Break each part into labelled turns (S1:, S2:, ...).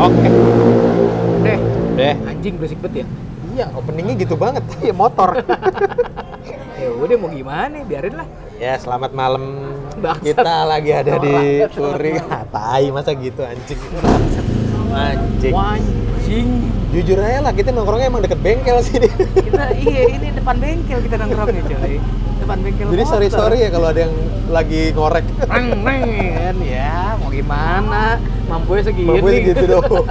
S1: Oke.
S2: Deh,
S1: Deh.
S2: anjing berisik banget ya.
S3: Iya, openingnya gitu banget. Iya, motor.
S2: Ya udah mau gimana, biarin lah.
S3: ya, selamat malam.
S2: Bangsat.
S3: Kita lagi ada
S2: Selamat
S3: di
S2: malam.
S3: Touring. Ah, tai, masa gitu anjing. Anjing.
S2: Anjing.
S3: Jujur aja lah, kita nongkrongnya emang deket bengkel sih. Di.
S2: Kita iya ini depan bengkel kita nongkrongnya coy. Depan bengkel.
S3: Jadi
S2: motor.
S3: sorry-sorry ya kalau ada yang lagi ngorek.
S2: Reng reng ya, mau gimana? Mampunya segini.
S3: Mampu gitu doang.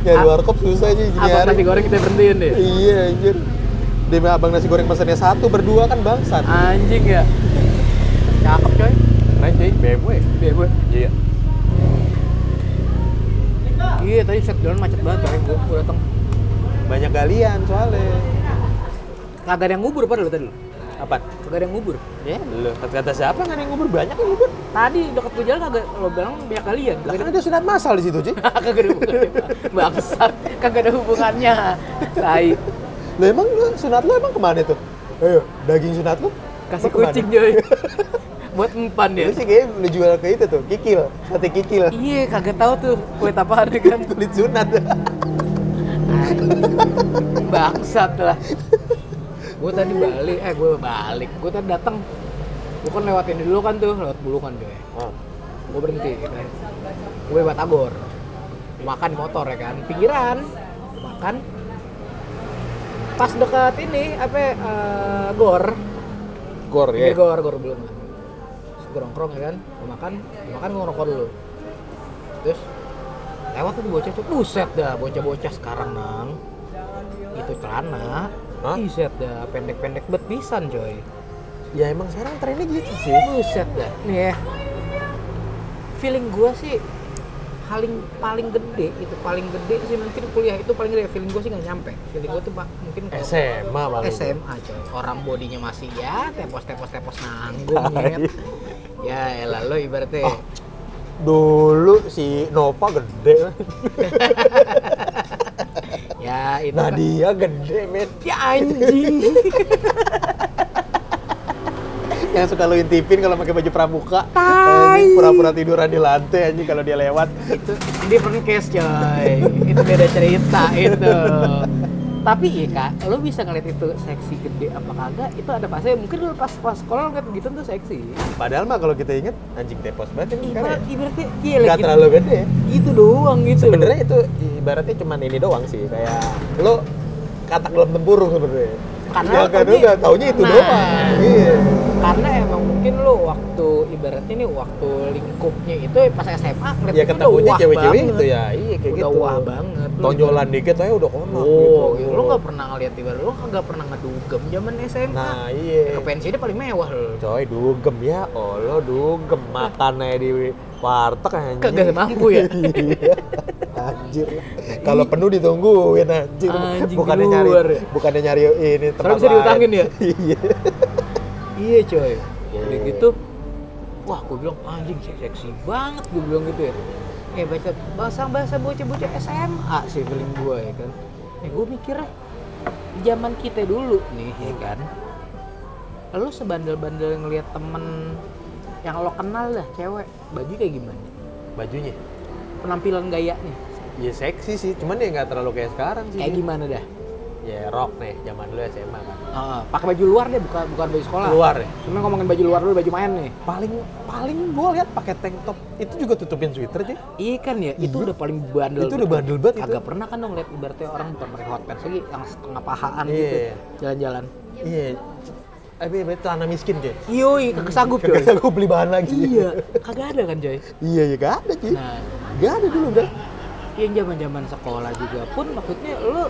S3: Nyari
S2: Ab-
S3: warkop susah aja
S2: Abang nasi goreng kita berhentiin deh.
S3: Iya, anjir. Demi abang nasi goreng pesannya satu, berdua kan bangsat.
S2: Anjing ya. Cakep coy.
S3: Naik cuy, BMW.
S2: Biar gue.
S3: Iya.
S2: Iya tadi set jalan macet banget coy. Gue gue datang.
S3: Banyak galian soalnya.
S2: Kagak ada yang ngubur padahal tadi lu.
S3: Apa?
S2: Kagak ada yang ngubur.
S3: Ya, lu kata siapa nggak ada yang ngubur banyak yang ngubur?
S2: Tadi dekat gue jalan kagak lo bilang banyak ya. kalian.
S3: Lah kan ada sunat masal di situ, Ci.
S2: kagak ada hubungannya. Bangsat, kagak ada hubungannya. Tai.
S3: Lah emang lu sunat lu emang kemana tuh? Ayo, daging sunat lu?
S2: Kasih
S3: lu kemana?
S2: kucing coy. Buat empan ya.
S3: Lu sih kayaknya lu jual ke itu tuh, kikil, sate kikil.
S2: Iya, kagak tahu tuh kue apaan deh kan.
S3: Kulit sunat.
S2: Bangsat lah. Gue tadi balik, eh gue balik. Gue tadi datang. Gue kan lewatin dulu kan tuh, lewat bulungan coy.
S3: Oh,
S2: Gue berhenti kan. Gue batagor. Makan di motor ya kan, pinggiran. Makan. Pas dekat ini apa eh, gor,
S3: Gor
S2: Pinggir
S3: ya.
S2: gor, gor belum. kan? Terus gue nongkrong ya kan, gue makan, gue makan gue ngerokok dulu. Terus lewat tuh bocah tuh, buset dah bocah-bocah sekarang nang. Itu celana,
S3: Hah?
S2: buset dah pendek-pendek bet pisan coy.
S3: Ya emang sekarang trennya gitu sih.
S2: Buset dah, nih ya. Feeling gue sih paling paling gede itu paling gede sih mungkin kuliah itu paling gede feeling gue sih nggak nyampe feeling gue tuh pak mungkin
S3: Eh,
S2: kalau-
S3: SMA paling.
S2: SMA coy orang bodinya masih ya tepos tepos tepos nanggung nyet. ya elah lo ibaratnya
S3: Iya. Oh. Dulu si Nova gede,
S2: ya
S3: Nah,
S2: itu kan-
S3: Nadia gede, men.
S2: ya anjing
S3: Yang suka lu intipin kalau pakai baju pramuka.
S2: Tai.
S3: Anjing, Pura-pura tiduran di lantai anjing kalau dia lewat.
S2: itu different case coy itu beda cerita itu tapi iya kak lo bisa ngeliat itu seksi gede apa kagak itu ada pasnya mungkin lo pas pas sekolah lo ngeliat gitu tuh seksi
S3: Padahal mah kalau kita inget anjing depos banget ini sekarang.
S2: ibarat
S3: ya.
S2: ibaratnya iya
S3: Nggak
S2: lagi
S3: terlalu gede. ya.
S2: gitu doang gitu
S3: Sebenarnya itu ibaratnya cuman ini doang sih kayak lo katak dalam tempurung sebenarnya. ya,
S2: Karena
S3: kan
S2: taunya-
S3: enggak taunya itu
S2: Nah.
S3: doang. Iya.
S2: karena emang mungkin lo waktu ibaratnya nih waktu lingkupnya itu pas SMA ngeliat
S3: Ya
S2: itu udah
S3: ketemunya
S2: wah
S3: cewek-cewek
S2: banget.
S3: itu ya. Iya kayak
S2: udah
S3: gitu.
S2: wah banget Lu
S3: Tonjolan dikit aja udah konak
S2: Oh,
S3: gitu.
S2: gitu. lo nggak pernah ngeliat tiba lo nggak pernah ngedugem zaman SMA.
S3: Nah, iya.
S2: Ke pensi dia paling mewah lo.
S3: Coy, dugem ya. Oh, lo dugem makan aja di warteg anjing.
S2: Kagak mampu ya?
S3: Iya. anjir. Kalau penuh ditungguin anjir.
S2: Anjing,
S3: bukannya
S2: di
S3: nyari
S2: luar ya?
S3: bukannya nyari ini tempat
S2: Soalnya bisa
S3: lain.
S2: diutangin ya?
S3: Iya.
S2: Iya coy. Udah
S3: Iya.
S2: gitu, wah gue bilang anjing seksi banget gue bilang gitu ya. Eh baca bahasa bahasa bocah-bocah SMA sih feeling gue ya kan. Eh gue mikirnya di zaman kita dulu nih ya kan. Lo sebandel-bandel ngeliat temen yang lo kenal lah cewek baju kayak gimana?
S3: Bajunya
S2: Penampilan gayanya
S3: Ya seksi sih, cuman ya nggak terlalu kayak gitu. sekarang sih.
S2: kayak gimana dah?
S3: Ya rock nih, zaman dulu SMA kan.
S2: Ah, pakai baju luar deh bukan bukan baju sekolah.
S3: Keluar ya.
S2: Cuma ngomongin baju luar dulu baju main nih.
S3: Paling paling gue lihat pakai tank top itu juga tutupin sweater sih.
S2: Iya kan ya, itu udah paling bandel.
S3: Mhm. Itu udah
S2: banget.
S3: bandel banget itu.
S2: Kagak pernah kan dong lihat ibaratnya orang bukan pakai hot pants lagi yang setengah pahaan
S3: Iya.
S2: gitu jalan-jalan.
S3: Iya. Tapi tapi celana miskin cuy.
S2: Yoi, kagak sanggup coy.
S3: Kagak gue beli bahan lagi.
S2: iya, kagak ada kan coy.
S3: Iya, ya gak ada cuy.
S2: Nah,
S3: Gak ada dulu udah.
S2: yang zaman-zaman sekolah juga pun maksudnya lu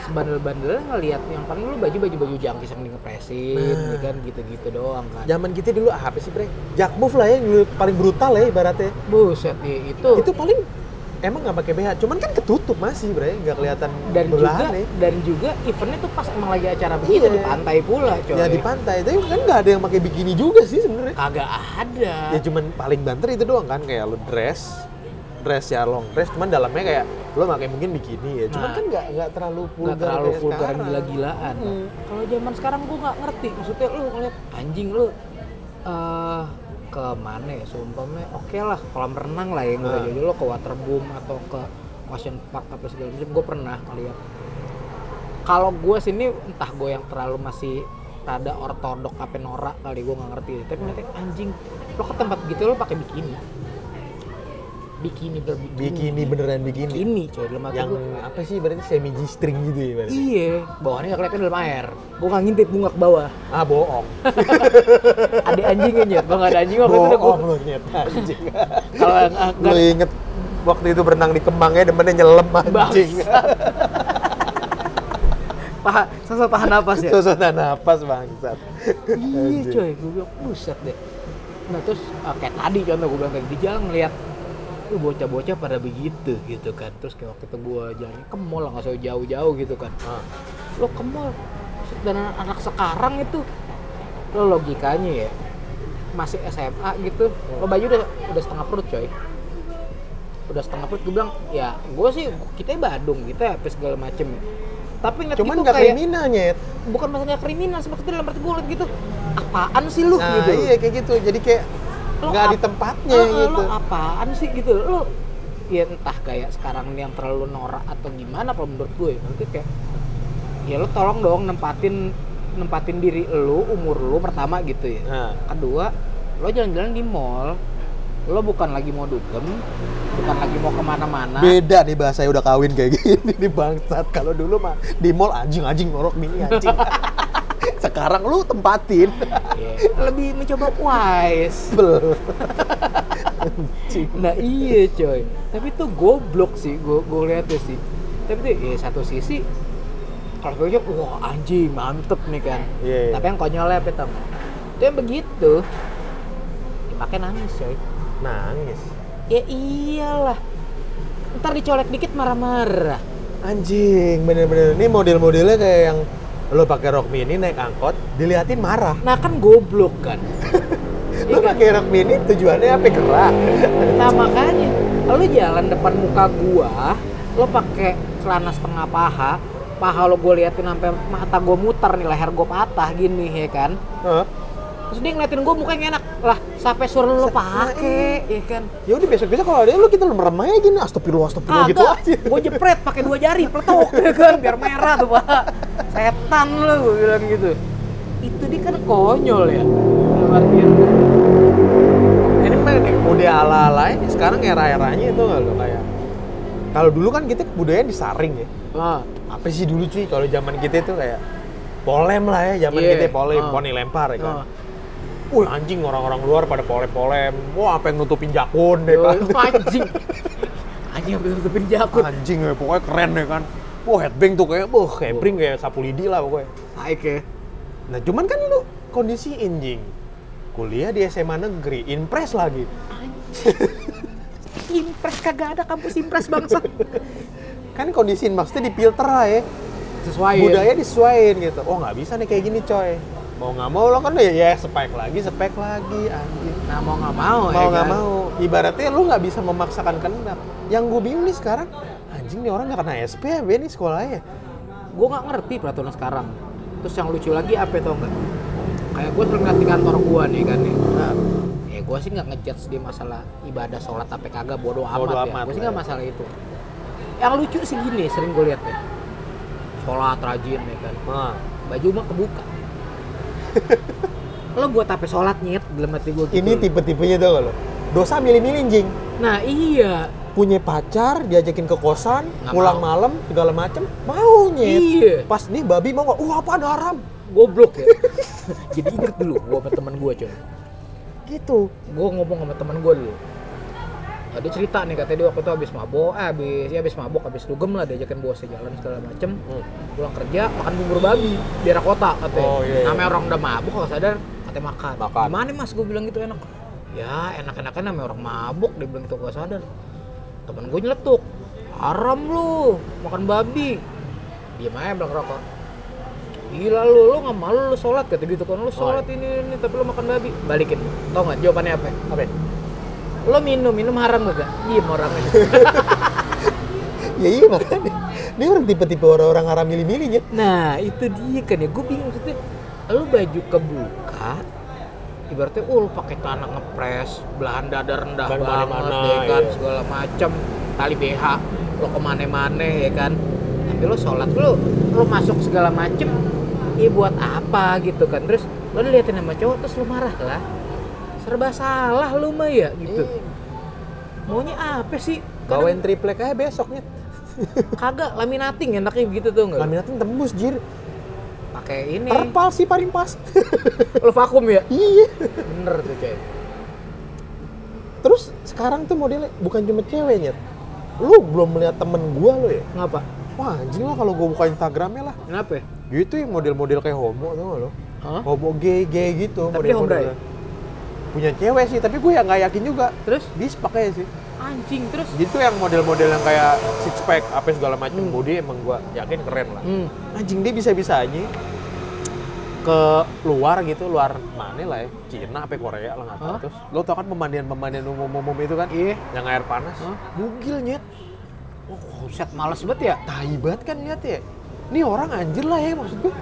S2: sebandel-bandelnya ngelihat yang paling lu baju-baju baju jangkis yang digepresin,
S3: Nah.
S2: ya kan gitu-gitu doang kan.
S3: Zaman kita dulu apa sih bre? Jakmove lah ya yang dulu paling brutal ya ibaratnya.
S2: Buset nih itu.
S3: Itu paling emang nggak pakai BH, cuman kan ketutup masih bre, nggak kelihatan
S2: dan juga
S3: belahan ya.
S2: dan juga eventnya tuh pas emang lagi acara begitu
S3: Iya.
S2: di pantai pula coy.
S3: Ya di pantai, tapi kan nggak ada yang pakai bikini juga sih sebenarnya.
S2: kagak ada.
S3: Ya cuman paling banter itu doang kan kayak lu dress dress ya long dress cuman dalamnya kayak lu pakai mungkin bikini ya cuman
S2: Nah.
S3: kan nggak nggak terlalu vulgar
S2: nggak terlalu
S3: kayak
S2: vulgar
S3: sekarang.
S2: gila-gilaan.
S3: Mm.
S2: Kalau zaman sekarang gue nggak ngerti, maksudnya lu ngeliat anjing lu eh ke mana ya seumpamanya oke lah kolam renang lah ya, yang gue
S3: Ah.
S2: jauh lo ke waterboom atau ke ocean park apa segala macam gue pernah lihat kalau gue sini entah gue yang terlalu masih rada ortodok apa norak kali gue nggak ngerti deh. tapi nanti anjing lo ke tempat gitu lo pakai bikini bikini berbikini
S3: Bikini beneran bikini.
S2: bikini coy dalam hati
S3: Yang
S2: gue
S3: apa sih berarti semi G string gitu ya berarti.
S2: iya bawahnya nggak kelihatan dalam air gue nggak ngintip bunga ke bawah
S3: Ah bohong.
S2: ada anjingnya nyet gue nggak ada anjing waktu itu udah
S3: bohong
S2: gua-
S3: lu ternyata anjing.
S2: kalau yang- yang-
S3: lu inget waktu itu berenang di Kemangnya demennya nyelam anjing.
S2: paha sosok tahan napas ya
S3: Susunan nafas bangsat.
S2: iya
S3: Anjing.
S2: coy gue bilang buset deh nah terus eh, kayak tadi contoh gue bilang kayak di jalan ngeliat tuh bocah-bocah pada begitu gitu kan terus kayak waktu itu gue jalan ke mall lah nggak usah jauh-jauh gitu kan
S3: Ah,
S2: lo ke mall Set, dan anak, anak sekarang itu lo logikanya ya masih SMA gitu
S3: Oh.
S2: lo baju udah udah setengah perut coy udah setengah perut gue bilang ya gue sih kita Badung kita apa segala macem ya tapi ngeliat
S3: Cuman
S2: gitu
S3: nggak
S2: kayak
S3: kriminal nyet.
S2: bukan masalah kriminal seperti itu dalam arti gue liat gitu apaan sih lu
S3: Nah
S2: gitu
S3: iya kayak gitu. Jadi kayak
S2: Lo
S3: nggak
S2: ap-
S3: di tempatnya
S2: Eh, eh,
S3: gitu.
S2: lo apaan sih gitu lo ya entah kayak sekarang ini yang terlalu norak atau gimana kalau menurut gue nanti kayak ya lo tolong dong nempatin nempatin diri lo umur lo pertama gitu ya
S3: Nah,
S2: kedua lo jalan-jalan di mall lo bukan lagi mau dugem bukan lagi mau kemana-mana
S3: beda nih bahasanya udah kawin kayak gini nih bangsat kalau dulu mah di mall anjing anjing ngorok mini anjing sekarang lu tempatin
S2: Ya, lebih mencoba wise
S3: Bel.
S2: nah iya coy tapi itu goblok sih gue gue lihatnya sih tapi tuh ya satu sisi kalau gue lihat, wah anjing mantep nih kan
S3: Iya, iya.
S2: tapi yang konyolnya apa tau nggak? itu yang begitu dipakai nangis coy
S3: nangis
S2: ya iyalah ntar dicolek dikit marah-marah
S3: anjing bener-bener ini model-modelnya kayak yang lo pakai rok mini naik angkot diliatin marah
S2: nah kan goblok kan
S3: lo
S2: Iya
S3: pakai rok mini tujuannya apa gerak
S2: nah makanya lu jalan depan muka gua lo pakai celana setengah paha paha lo gue liatin sampai mata gue muter nih leher gue patah gini ya kan
S3: Hah?
S2: terus dia ngeliatin gue mukanya enak lah sampai suruh lo pakai ya kan
S3: ya udah besok-besok kalau ada lo kita merem aja gini astagfirullah astagfirullah gitu aja
S2: gue jepret pakai dua jari peletok ya kan biar merah tuh pak setan lo gue bilang gitu itu dia kan konyol ya dalam artian
S3: ini mah nih, udah ala-ala ini sekarang era-eranya itu nggak lo kayak kalau dulu kan kita kebudayaan disaring ya
S2: ah
S3: apa sih dulu cuy kalau zaman kita itu kayak polem lah ya zaman
S2: Iya.
S3: kita polem
S2: Ah.
S3: poni lempar ya kan
S2: ah.
S3: Wih anjing orang-orang luar pada polem-polem wah apa yang nutupin jakun deh kan
S2: anjing anjing habis nutupin jakun
S3: anjing ya, pokoknya keren deh kan wah headbang tuh kayak boh hebring kayak sapu lidi lah pokoknya
S2: naik ya
S3: nah cuman kan lu kondisi anjing kuliah di SMA negeri impres lagi
S2: impres kagak ada kampus impres bangsa
S3: kan kondisiin maksudnya di filter lah ya
S2: sesuai
S3: budaya disesuaiin gitu oh nggak bisa nih kayak gini coy mau nggak mau lo kan ya, ya spek lagi spek lagi anjing
S2: nah mau nggak mau,
S3: mau
S2: ya
S3: nggak
S2: kan?
S3: mau ibaratnya lu nggak bisa memaksakan kehendak yang gue bingung nih sekarang anjing nih orang nggak kena SPB nih sekolahnya
S2: gue nggak ngerti peraturan sekarang terus yang lucu lagi apa tau nggak kayak gue sering ngeliat di kantor gue nih kan nih
S3: nah,
S2: ya gue sih nggak ngejudge dia masalah ibadah sholat apa kagak bodoh amat,
S3: Bodo
S2: ya
S3: amat,
S2: gue sih nggak
S3: ya.
S2: masalah itu yang lucu sih gini sering gue lihat ya sholat rajin ya kan
S3: nah
S2: baju mah kebuka lo buat apa sholat nyet dalam hati gue gitu
S3: ini tipe-tipenya tau gak lo dosa milih-milih anjing
S2: nah iya
S3: punya pacar diajakin ke kosan
S2: Nggak
S3: pulang
S2: mau.
S3: malam segala macem mau nyet
S2: iya
S3: pas nih babi mau nggak wah apa haram
S2: goblok ya jadi inget dulu gue sama teman gue coy
S3: gitu
S2: gue ngomong sama teman gue dulu Nah, dia cerita nih katanya dia waktu itu habis mabok, eh, habis ya habis mabok, habis dugem lah diajakin bosnya jalan segala macem pulang kerja makan bubur babi di daerah kota katanya
S3: Hmm. Oh, iya, iya.
S2: namanya orang udah mabuk kalau sadar katanya makan
S3: Makan.
S2: gimana mas gue bilang gitu enak ya enak-enaknya namanya orang mabuk dia bilang gitu gak sadar temen gue nyeletuk haram lu makan babi diem aja bilang rokok gila lu lu nggak malu lu sholat kata gitu kan lu sholat ini ini tapi lu makan babi balikin tau nggak jawabannya apa
S3: apa
S2: lo minum minum haram gak diem orangnya
S3: ya iya makanya dia orang tipe-tipe orang-orang haram milih-milih nyet
S2: Nah itu dia kan ya, gue bingung maksudnya lu baju kebuka ibaratnya oh lu pakai tanah ngepres belahan dada rendah
S3: Kan
S2: banget
S3: mana-mana,
S2: ya kan
S3: iya.
S2: segala macem tali BH lo kemana-mana ya kan tapi lo sholat lo lo masuk segala macem ya buat apa gitu kan terus lo diliatin sama cowok terus lo marah lah serba salah lu mah ya
S3: Iya,
S2: gitu maunya apa sih
S3: bawain
S2: Kadang
S3: triplek aja besoknya Iya.
S2: kagak laminating enaknya begitu tuh nggak
S3: laminatin tembus jir
S2: pakai ini
S3: terpal sih paling pas
S2: lo vakum ya
S3: iya
S2: bener tuh coy
S3: terus sekarang tuh modelnya bukan cuma ceweknya lu belum melihat temen gua lo ya
S2: ngapa
S3: wah anjing lah kalau gua buka instagramnya lah
S2: kenapa ya?
S3: gitu ya model-model kayak homo tuh lo
S2: Hah?
S3: homo gay gay gitu
S2: Tapi dia hombra
S3: model-modelnya. punya cewek sih tapi gue ya nggak yakin juga
S2: terus
S3: bispak aja sih
S2: anjing terus
S3: gitu yang model-model yang kayak six pack apa segala macam
S2: Hmm.
S3: body emang gua yakin keren lah
S2: hmm.
S3: anjing dia bisa-bisa aja ke luar gitu luar mana lah ya Cina apa Korea lah nggak tahu
S2: Hah?
S3: terus lo tau kan pemandian-pemandian umum-umum itu kan
S2: iya
S3: yang air panas
S2: Hah?
S3: bugil nyet
S2: oh set males banget ya
S3: tai banget kan lihat ya ini orang anjir lah ya maksud gue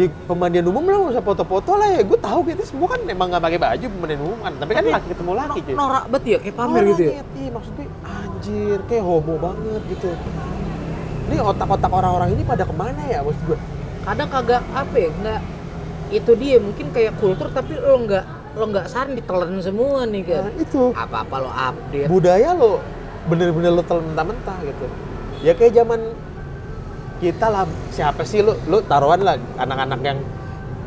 S3: ya pemandian umum lah nggak usah foto-foto lah ya gue tahu gitu semua kan emang nggak pakai baju pemandian umum kan tapi kan
S2: Tapi
S3: laki ketemu laki cuy
S2: norak banget ya kayak pamer gitu ya
S3: Orang, Nyet. Iya, maksud gue anjir kayak homo banget gitu ini otak-otak orang-orang ini pada kemana ya maksud gue
S2: kadang kagak apa ya nggak itu dia mungkin kayak kultur tapi lo nggak lo nggak saran ditelan semua nih kan
S3: Nah, itu
S2: apa apa lo update
S3: budaya lo bener-bener lo telan mentah-mentah gitu ya kayak zaman kita lah siapa sih lo lo taruhan lah anak-anak yang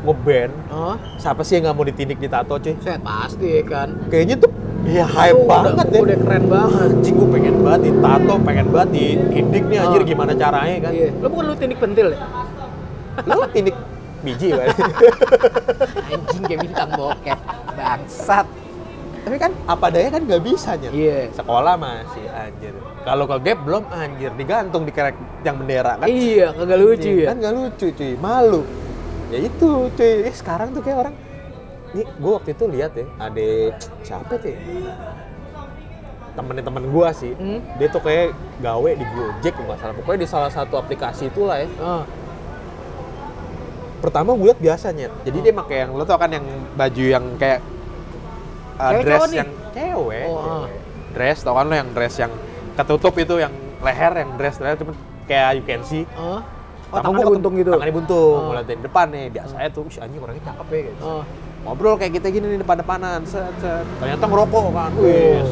S3: ngeband
S2: oh
S3: siapa sih yang nggak mau ditindik ditato cuy
S2: set pasti kan
S3: kayaknya tuh ya hype
S2: Itu udah-
S3: banget ya
S2: udah keren banget
S3: anjing gue pengen banget ditato pengen banget ditindik nih anjir
S2: Ah.
S3: gimana caranya kan
S2: iya. lo bukan lu tindik pentil ya
S3: lo tindik biji kan
S2: anjing kayak bintang bokep bangsat
S3: tapi kan apa daya kan nggak bisa nyet
S2: iya
S3: sekolah masih anjir kalau ke gap belum anjir digantung di kerek yang bendera kan
S2: iya kagak lucu
S3: Anjing,
S2: ya
S3: Kan nggak lucu cuy, malu. Ya itu cuy, Eh, sekarang tuh kayak orang nih gue waktu itu lihat ya, ada siapa tuh? ya? Temennya temen gue sih,
S2: Hmm?
S3: dia tuh kayak gawe di Gojek kalau nggak salah. Pokoknya di salah satu aplikasi itulah ya.
S2: Ah,
S3: Pertama gue liat biasanya, jadi dia pakai yang lo tau kan yang baju yang kayak uh,
S2: Cewek
S3: dress
S2: cowok nih?
S3: yang cewek,
S2: Oh,
S3: cewek.
S2: ah.
S3: dress tau kan lo yang dress yang ketutup itu yang leher yang dress leher cuman kayak you can see
S2: ah. Oh,
S3: Pertama
S2: tangannya
S3: gua
S2: buntung gitu.
S3: Tangannya buntung,
S2: Ah.
S3: ngeliatin depan nih. Biasanya tuh, si anjing orangnya cakep ya. Gitu.
S2: Ah.
S3: Ngobrol kayak kita gini nih depan-depanan, set, set. Ternyata ngerokok kan,
S2: Oh.
S3: wis.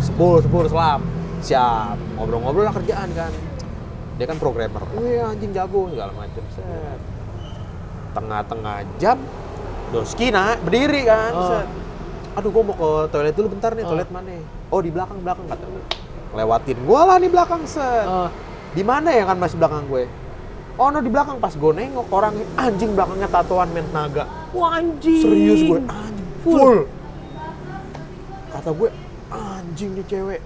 S3: Sepuluh, sepuluh, selam. Siap, ngobrol-ngobrol lah kerjaan kan. Dia kan programmer, wih anjing jago, segala macem, set. Tengah-tengah jam, Doski nah, berdiri kan,
S2: Ah.
S3: set. Aduh, gua mau ke toilet dulu bentar nih,
S2: Ah.
S3: toilet mana? Oh, di belakang-belakang kata gue. Lewatin gua lah di belakang, set
S2: Ah.
S3: di mana ya kan masih belakang gue oh no di belakang pas gue nengok orang anjing belakangnya tatoan men naga
S2: Wah anjing.
S3: serius gue anjing
S2: Full.
S3: full kata gue anjing nih cewek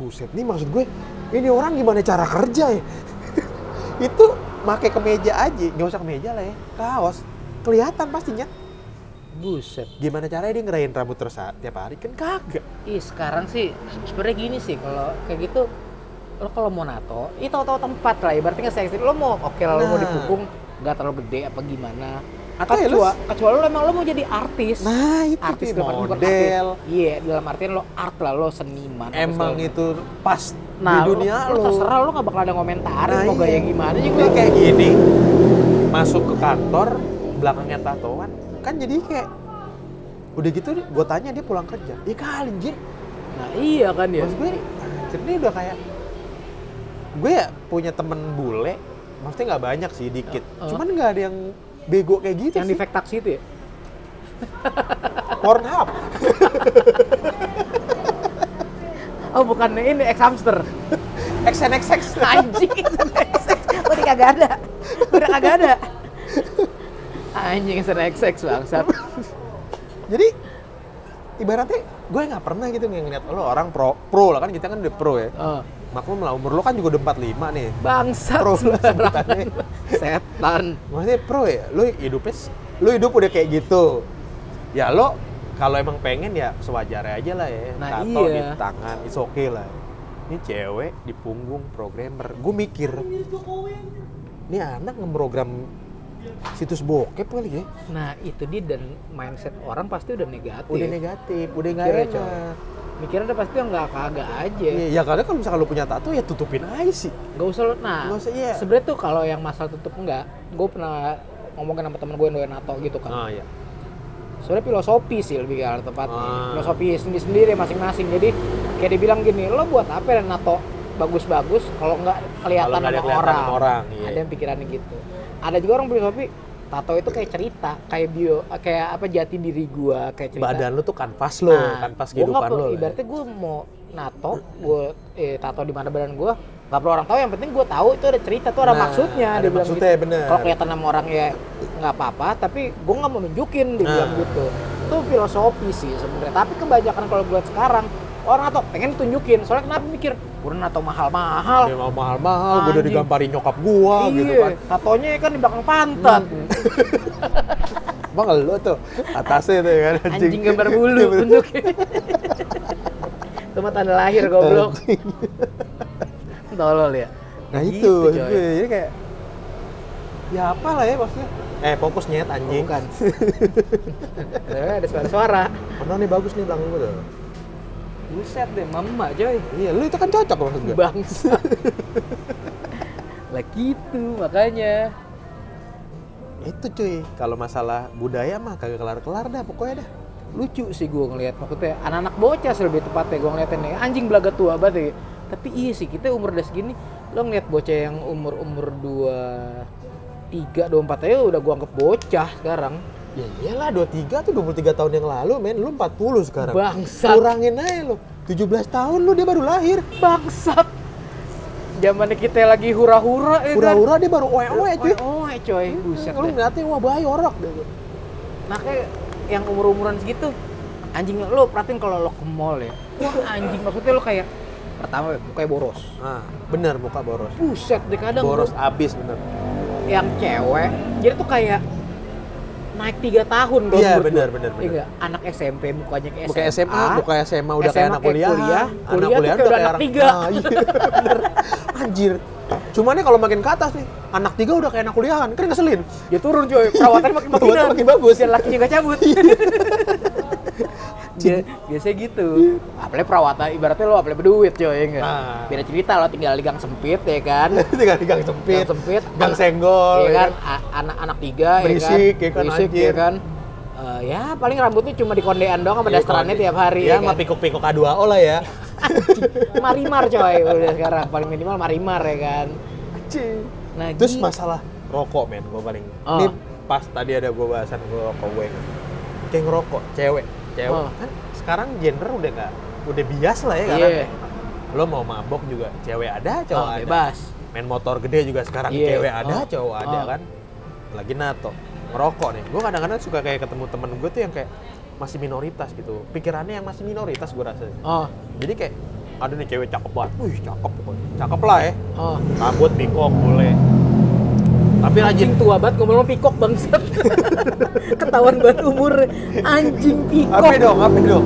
S3: buset nih maksud gue ini orang gimana cara kerja ya itu pakai kemeja aja nggak usah kemeja lah ya kaos kelihatan pastinya
S2: Buset.
S3: gimana caranya dia ngerayain rambut terus saat- tiap hari kan kagak
S2: Ih sekarang sih sebenarnya gini sih kalau kayak gitu lo kalau mau nato, itu tahu-tahu tempat lah. Ibaratnya nggak seksi. Lo mau oke lah, lo mau
S3: Nah.
S2: dipukung nggak terlalu gede apa gimana.
S3: Atau ya
S2: Kecuali,
S3: lo-
S2: kecuali lo emang lo mau jadi artis.
S3: nah itu
S2: artis
S3: cuy,
S2: dalam artian bukan
S3: model
S2: artis. Iya dalam artian lo art lah, lo seniman. apa
S3: emang
S2: segala
S3: itu pas
S2: macam. Nah,
S3: di dunia
S2: lo,
S3: lo,
S2: terserah lo nggak bakal ada komentarin
S3: Nah,
S2: mau
S3: iya.
S2: gaya gimana juga.
S3: Ini kayak gini, masuk ke kantor, belakangnya tatoan, kan jadi kayak udah gitu gue tanya dia pulang kerja ya kali anjir
S2: Nah iya kan ya.
S3: maksud gue anjir ini udah kayak gue ya punya temen bule maksudnya nggak banyak sih dikit
S2: Uh.
S3: cuman nggak ada yang bego kayak gitu
S2: Yang di
S3: sih
S2: fake taksi itu ya.
S3: Pornhub
S2: Oh bukan ini ex hamster.
S3: XNXX
S2: anjing itu next udah kagak ada udah kagak ada anjing sering seks bangsat
S3: jadi ibaratnya gue nggak pernah gitu ngeliat lo orang pro pro lah kan kita kan udah pro ya
S2: oh,
S3: maklum lah umur lo kan juga udah 45 nih
S2: bangsat
S3: pro lah
S2: sembarangan.
S3: sebutannya
S2: setan
S3: maksudnya pro ya lu hidupnya s- lu hidup udah kayak gitu ya lo kalau emang pengen ya sewajarnya aja lah ya
S2: Nah,
S3: tato
S2: iya.
S3: di tangan it's okay lah ini cewek di punggung programmer gue mikir ini anak ngeprogram situs bokep kali ya
S2: Nah itu dia dan mindset orang pasti udah negatif.
S3: udah negatif udah nggak
S2: Kira,
S3: enak
S2: coy. Mikirnya udah pasti nggak kagak aja.
S3: Iya, ya karena kalau misalkan lu punya tato ya tutupin aja sih
S2: Gak usah lo, nah
S3: Nggak usah, iya.
S2: sebenarnya tuh kalau yang masalah tutup enggak, gue pernah ngomongin sama temen gue yang doyan NATO gitu kan.
S3: iya
S2: Sebenarnya filosofi sih lebih ke tepatnya.
S3: Ah.
S2: Filosofi sendiri-sendiri masing-masing. Jadi kayak dibilang gini, lo buat apa ya NATO bagus-bagus kalau nggak kelihatan
S3: Kalau nggak ada
S2: sama
S3: kelihatan
S2: orang.
S3: sama orang, iya.
S2: Ada yang pikirannya gitu. Ada juga orang filosofi tato itu kayak cerita, kayak bio, kayak apa jati diri gua, kayak cerita.
S3: badan lu tuh kanvas lo
S2: Nah,
S3: kanvas
S2: gua
S3: kehidupan ya.
S2: nggak perlu-
S3: lo
S2: Ibaratnya gue mau nato, gue eh, tato di mana badan gue, nggak perlu orang tahu. Yang penting gue tahu itu ada cerita, tuh ada
S3: Nah,
S2: maksudnya.
S3: ada
S2: dia bilang
S3: maksudnya,
S2: gitu.
S3: bener.
S2: Kalau kelihatan sama orang ya nggak apa-apa, tapi gue nggak mau nunjukin dia
S3: Nah.
S2: bilang gitu. Itu filosofi sih sebenarnya. Tapi kebanyakan kalau gue sekarang orang nato pengen tunjukin. Soalnya kenapa mikir, gue nato mahal-mahal.
S3: Dia mau mahal-mahal, gue udah
S2: Anjing.
S3: digamparin nyokap gua Iya. gitu kan. Hmm,
S2: tatonya kan di belakang pantat.
S3: Bang lu tuh atasnya tuh ya kan
S2: Anjing gambar bulu bentuknya. Cuma tanda lahir goblok. Tolol ya.
S3: Nah
S2: Gitu,
S3: itu, maksud
S2: coy.
S3: gue. jadi kayak ya apalah ya maksudnya. Eh fokus nyet anjing.
S2: Bukan. Eh, ada suara-suara.
S3: Pernah Oh, nih bagus nih belakang gue tuh.
S2: Buset deh, mama coy.
S3: Iya, lu itu kan cocok maksud gue.
S2: Bangsa. lah gitu makanya.
S3: Itu cuy, kalau masalah budaya mah kagak kelar-kelar dah pokoknya dah.
S2: Lucu sih gue ngelihat maksudnya anak-anak bocah sih lebih tepatnya gue ngeliatin nih anjing belaga tua banget ya. Tapi iya sih kita umur udah segini lo ngeliat bocah yang umur-umur 2 3 24 aja udah gua anggap bocah sekarang.
S3: Ya iyalah 23 tuh 23 tahun yang lalu men, lu 40 sekarang.
S2: Bangsat.
S3: Kurangin aja lu. 17 tahun lu dia baru lahir.
S2: bangsat zamannya kita lagi hura-hura ya kan
S3: Hura-hura dia baru oe-oe cuy.
S2: oe coy buset
S3: Lu
S2: deh.
S3: ngeliatnya wah bayorok gitu.
S2: makanya yang umur-umuran segitu anjing lo perhatiin kalau lo ke mall ya wah anjing maksudnya lo kayak pertama kayak boros
S3: Ah, bener muka boros.
S2: buset deh kadang
S3: Boros
S2: gua-
S3: abis bener.
S2: yang cewek jadi tuh kayak naik tiga tahun kalau
S3: Iya,
S2: menurut gua.
S3: bener, bener,
S2: Iya
S3: bener.
S2: nggak? anak SMP mukanya kayak
S3: Buka SMA,
S2: Ah,
S3: buka SMA udah kayak
S2: SMA
S3: anak kuliah.
S2: kuliah,
S3: anak
S2: kuliah tuh
S3: kuliah
S2: kayak udah anak
S3: orang-
S2: tiga.
S3: Nah, iya, bener. Anjir. Cuman nih kalau makin ke atas nih, anak tiga udah kayak anak kuliahan, kan ngeselin.
S2: dia turun coy perawatannya makin
S3: Perawatan
S2: makin
S3: makin bagus. Iya.
S2: dan lakinya nggak cabut Dia- biasanya gitu apalagi perawatan ibaratnya lo apalagi berduit coy ya nggak
S3: Nah.
S2: beda cerita lo tinggal di gang sempit ya kan
S3: Tinggal di gang sempit,
S2: gang sempit
S3: gang
S2: anak-
S3: senggol,
S2: ya
S3: ya
S2: kan A- anak-anak tiga
S3: Berisik, ya
S2: ya kan
S3: kan,
S2: berisik ya
S3: anjir.
S2: kan Eh, ya paling rambutnya cuma
S3: kan?
S2: dikondean doang
S3: Iya,
S2: sama dasterannya tiap hari
S3: Ya,
S2: ya,
S3: sama
S2: kan?
S3: pikuk-pikuk A2O lah ya.
S2: marimar coy udah sekarang paling minimal marimar ya kan nah
S3: Terus
S2: gitu.
S3: masalah rokok men, gue paling.
S2: Oh.
S3: Ini pas tadi ada gue bahasan gue rokok gue. Kayak ngerokok, cewek, cewek.
S2: Oh.
S3: Kan sekarang gender udah nggak, udah bias lah ya karena
S2: iya
S3: lo mau mabok juga cewek ada cowok
S2: Oh,
S3: ada
S2: bebas
S3: main motor gede juga sekarang
S2: Iya.
S3: cewek ada
S2: Oh.
S3: cowok ada
S2: Oh.
S3: kan lagi nato ngerokok nih gue kadang-kadang suka kayak ketemu temen gue tuh yang kayak masih minoritas gitu pikirannya yang masih minoritas gue rasa
S2: oh
S3: jadi kayak ada nih cewek cakep banget wih cakep pokoknya cakep lah ya
S2: oh
S3: rambut bingkok boleh tapi rajin
S2: anjing tua banget ngomong pikok bangsat ketahuan banget umur anjing
S3: apa
S2: pikok
S3: dong apa dong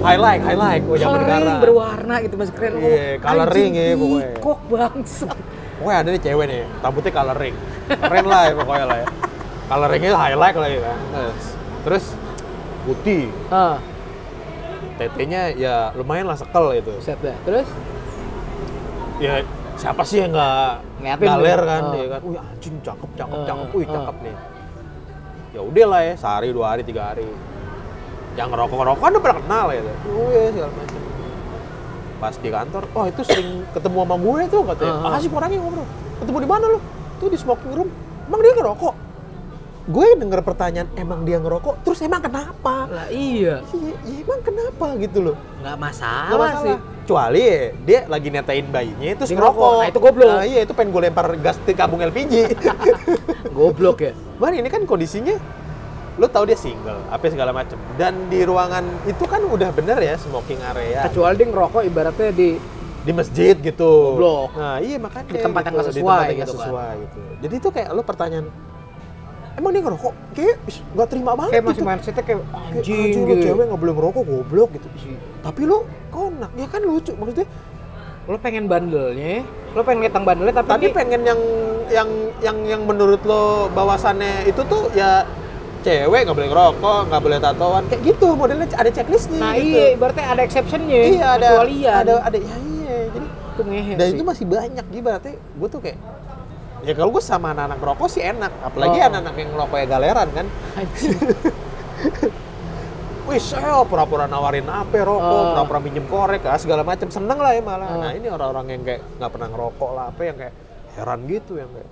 S3: highlight highlight Oh, gue zaman
S2: keren
S3: sekarang
S2: berwarna gitu mas keren
S3: Iya, coloring ya
S2: anjing
S3: pokoknya.
S2: pikok bangsat
S3: Pokoknya ada nih cewek nih, rambutnya coloring. Keren lah ya pokoknya lah ya. Coloringnya highlight lah ya kan. Terus, terus putih,
S2: ah
S3: tetenya ya lumayan lah sekel gitu.
S2: set dah terus
S3: Ya siapa sih yang nggak
S2: Ngeliatin
S3: galer
S2: tuh.
S3: kan?
S2: Oh.
S3: Ya kan, wih anjing cakep, cakep,
S2: Oh,
S3: cakep,
S2: oh,
S3: wih
S2: oh.
S3: cakep nih. Ya udah lah ya, sehari, dua hari, tiga hari. Yang ngerokok-ngerokok kan udah pernah kenal ya. Gitu. Oh iya segala macam. Pas di kantor, oh itu sering ketemu sama gue tuh katanya.
S2: Ah, ah.
S3: Makasih orangnya ngobrol. ya," Ketemu di mana lu? Tuh di smoking room. Emang dia ngerokok? Gue denger pertanyaan, emang dia ngerokok? Terus emang kenapa?
S2: lah iya
S3: Iya, ya emang kenapa gitu loh.
S2: nggak
S3: Nggak
S2: masalah, sih
S3: Kecuali dia lagi netain bayinya terus
S2: Dia
S3: ngerokok.
S2: ngerokok. Nah, itu goblok.
S3: Nah, iya itu pengen gue lempar gas di kampung LPG.
S2: goblok ya
S3: Bar ini kan kondisinya lu tahu dia single, apa segala macem. Dan di ruangan itu kan udah bener ya smoking area
S2: kecuali dia ngerokok ibaratnya di
S3: di masjid gitu.
S2: Goblok.
S3: Nah, iya makanya
S2: Di tempat yang nggak
S3: di
S2: sesuai
S3: tempat yang nggak
S2: gitu kan.
S3: sesuai gitu. Jadi itu kayak lu pertanyaan Emang dia ngerokok? Kayak ih, nggak terima banget
S2: kayak masih
S3: gitu.
S2: mindsetnya kayak
S3: Kayak,
S2: anjing
S3: anjing, lu
S2: gitu
S3: cewek nggak boleh ngerokok goblok gitu. Tapi lu konak, ya kan lucu ya maksudnya.
S2: lo pengen bandelnya lo pengen lihat tang bandelnya tapi,
S3: Tapi
S2: ini-
S3: pengen yang yang yang yang menurut lo bawasannya itu tuh ya cewek nggak boleh ngerokok, nggak boleh tatoan kayak gitu modelnya ada checklistnya
S2: nah
S3: gitu.
S2: iya ibaratnya ada exceptionnya
S3: Iya, ada
S2: kecualian
S3: ada ada ya iya jadi
S2: itu ngehe
S3: dan
S2: Iya sih.
S3: itu masih banyak gitu berarti gue tuh kayak ya kalau gue sama anak-anak rokok sih enak apalagi
S2: Oh.
S3: anak-anak yang ngerokoknya galeran kan
S2: Anjing.
S3: wih saya pura-pura nawarin apa rokok
S2: Oh.
S3: pura-pura minjem korek ah, segala macam seneng lah ya malah
S2: Oh.
S3: nah ini orang-orang yang kayak nggak pernah ngerokok lah apa yang kayak heran gitu yang kayak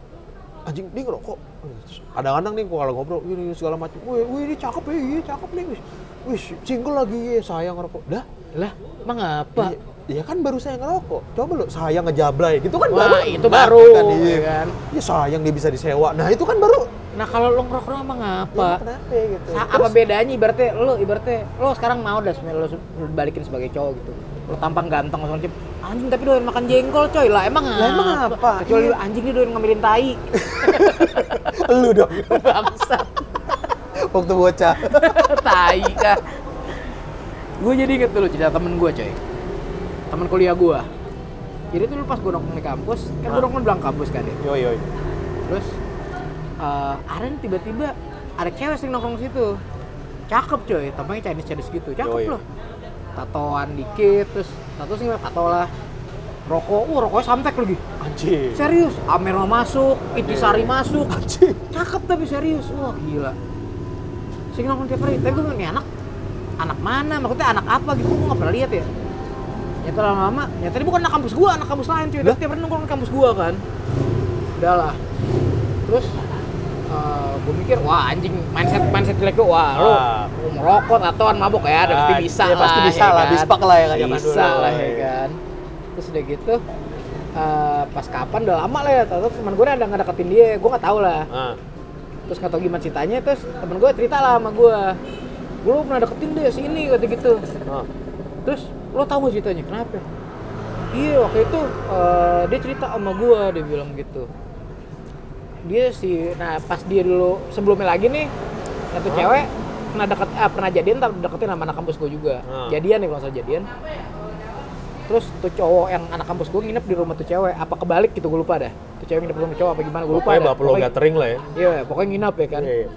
S3: anjing dia ngerokok Terus kadang-kadang nih gua kalau ngobrol ini segala macam wih wih ini cakep ya iya cakep nih wih wih single lagi ya saya ngerokok dah
S2: lah emang apa
S3: Iya, Iya kan baru saya ngerokok. Coba lu saya ngejablay gitu kan
S2: Wah,
S3: baru.
S2: itu
S3: enak
S2: baru,
S3: Kan, iya
S2: ya
S3: kan.
S2: kan?
S3: Ya sayang dia bisa disewa. Nah, itu kan baru.
S2: nah kalau lo ngerokok emang apa
S3: Ya, kenapa ya, gitu.
S2: Sa-
S3: Terus,
S2: apa bedanya ibaratnya lo ibaratnya lo sekarang mau dah sebenarnya lo se- lo balikin sebagai cowok gitu lo tampang ganteng langsung aja anjing tapi doyan makan jengkol coy lah emang
S3: Lah, emang apa?
S2: kecuali
S3: Iya.
S2: lo anjing dia doyan ngambilin tai
S3: lu dong
S2: bangsat
S3: waktu bocah.
S2: tai kah gue jadi inget dulu cerita temen gue coy temen kuliah gue jadi tuh dulu pas gue nongkrong di kampus kan gue
S3: Ah.
S2: nongkrong di belakang kampus kan ya
S3: Yoi yoi.
S2: terus eh Aren tiba-tiba ada cewek sering nongkrong situ cakep coy tampangnya Chinese Chinese gitu cakep
S3: Yoi.
S2: loh tatoan dikit terus tato sih nggak tato lah rokok uh rokoknya samtek lagi
S3: Iya. Anjing.
S2: serius Amerma masuk Itisari
S3: Anjing.
S2: masuk
S3: Anjing.
S2: cakep tapi serius wah gila sering nongkrong tiap hari tapi gue bilang, "Ini anak anak mana maksudnya anak apa gitu gue nggak pernah lihat ya nyata lama-lama nyata ini bukan anak kampus gua anak kampus lain cuy
S3: Lah?
S2: tiap hari nongkrong di kampus gua kan udahlah terus gue mikir wah anjing mindset mindset jelek gue wah lo
S3: Ah.
S2: merokok tatoan mabok ya ada pasti
S3: Ah,
S2: bisa
S3: iya,
S2: lah
S3: pasti bisa
S2: ya
S3: lah,
S2: kan?
S3: bispak lah ya kan, zaman
S2: bisa
S3: dulu.
S2: lah ya
S3: Iya.
S2: kan terus udah gitu eh, pas kapan udah lama lah ya tau teman gue ada ngedeketin dia gue nggak tahu lah
S3: Ah.
S2: terus nggak tau gimana ceritanya terus temen gue cerita lah sama gue gue lu pernah deketin deh sini kata gitu
S3: Ah.
S2: terus lo tau gak ceritanya kenapa iya waktu itu eh, dia cerita sama gue dia bilang gitu dia si nah pas dia dulu sebelumnya lagi nih satu cewek pernah deket ah, pernah jadian tapi deketin sama anak kampus gue juga
S3: Hmm.
S2: jadian nih kalau nggak salah jadian terus tuh cowok yang anak kampus gue nginep di rumah tuh cewek apa kebalik gitu gue lupa dah tuh cewek nginep di rumah cowok apa gimana gue lupa
S3: Pokoknya
S2: dah
S3: bapak lo gathering lah ya.
S2: iya pokoknya nginep ya kan
S3: Iya, iya.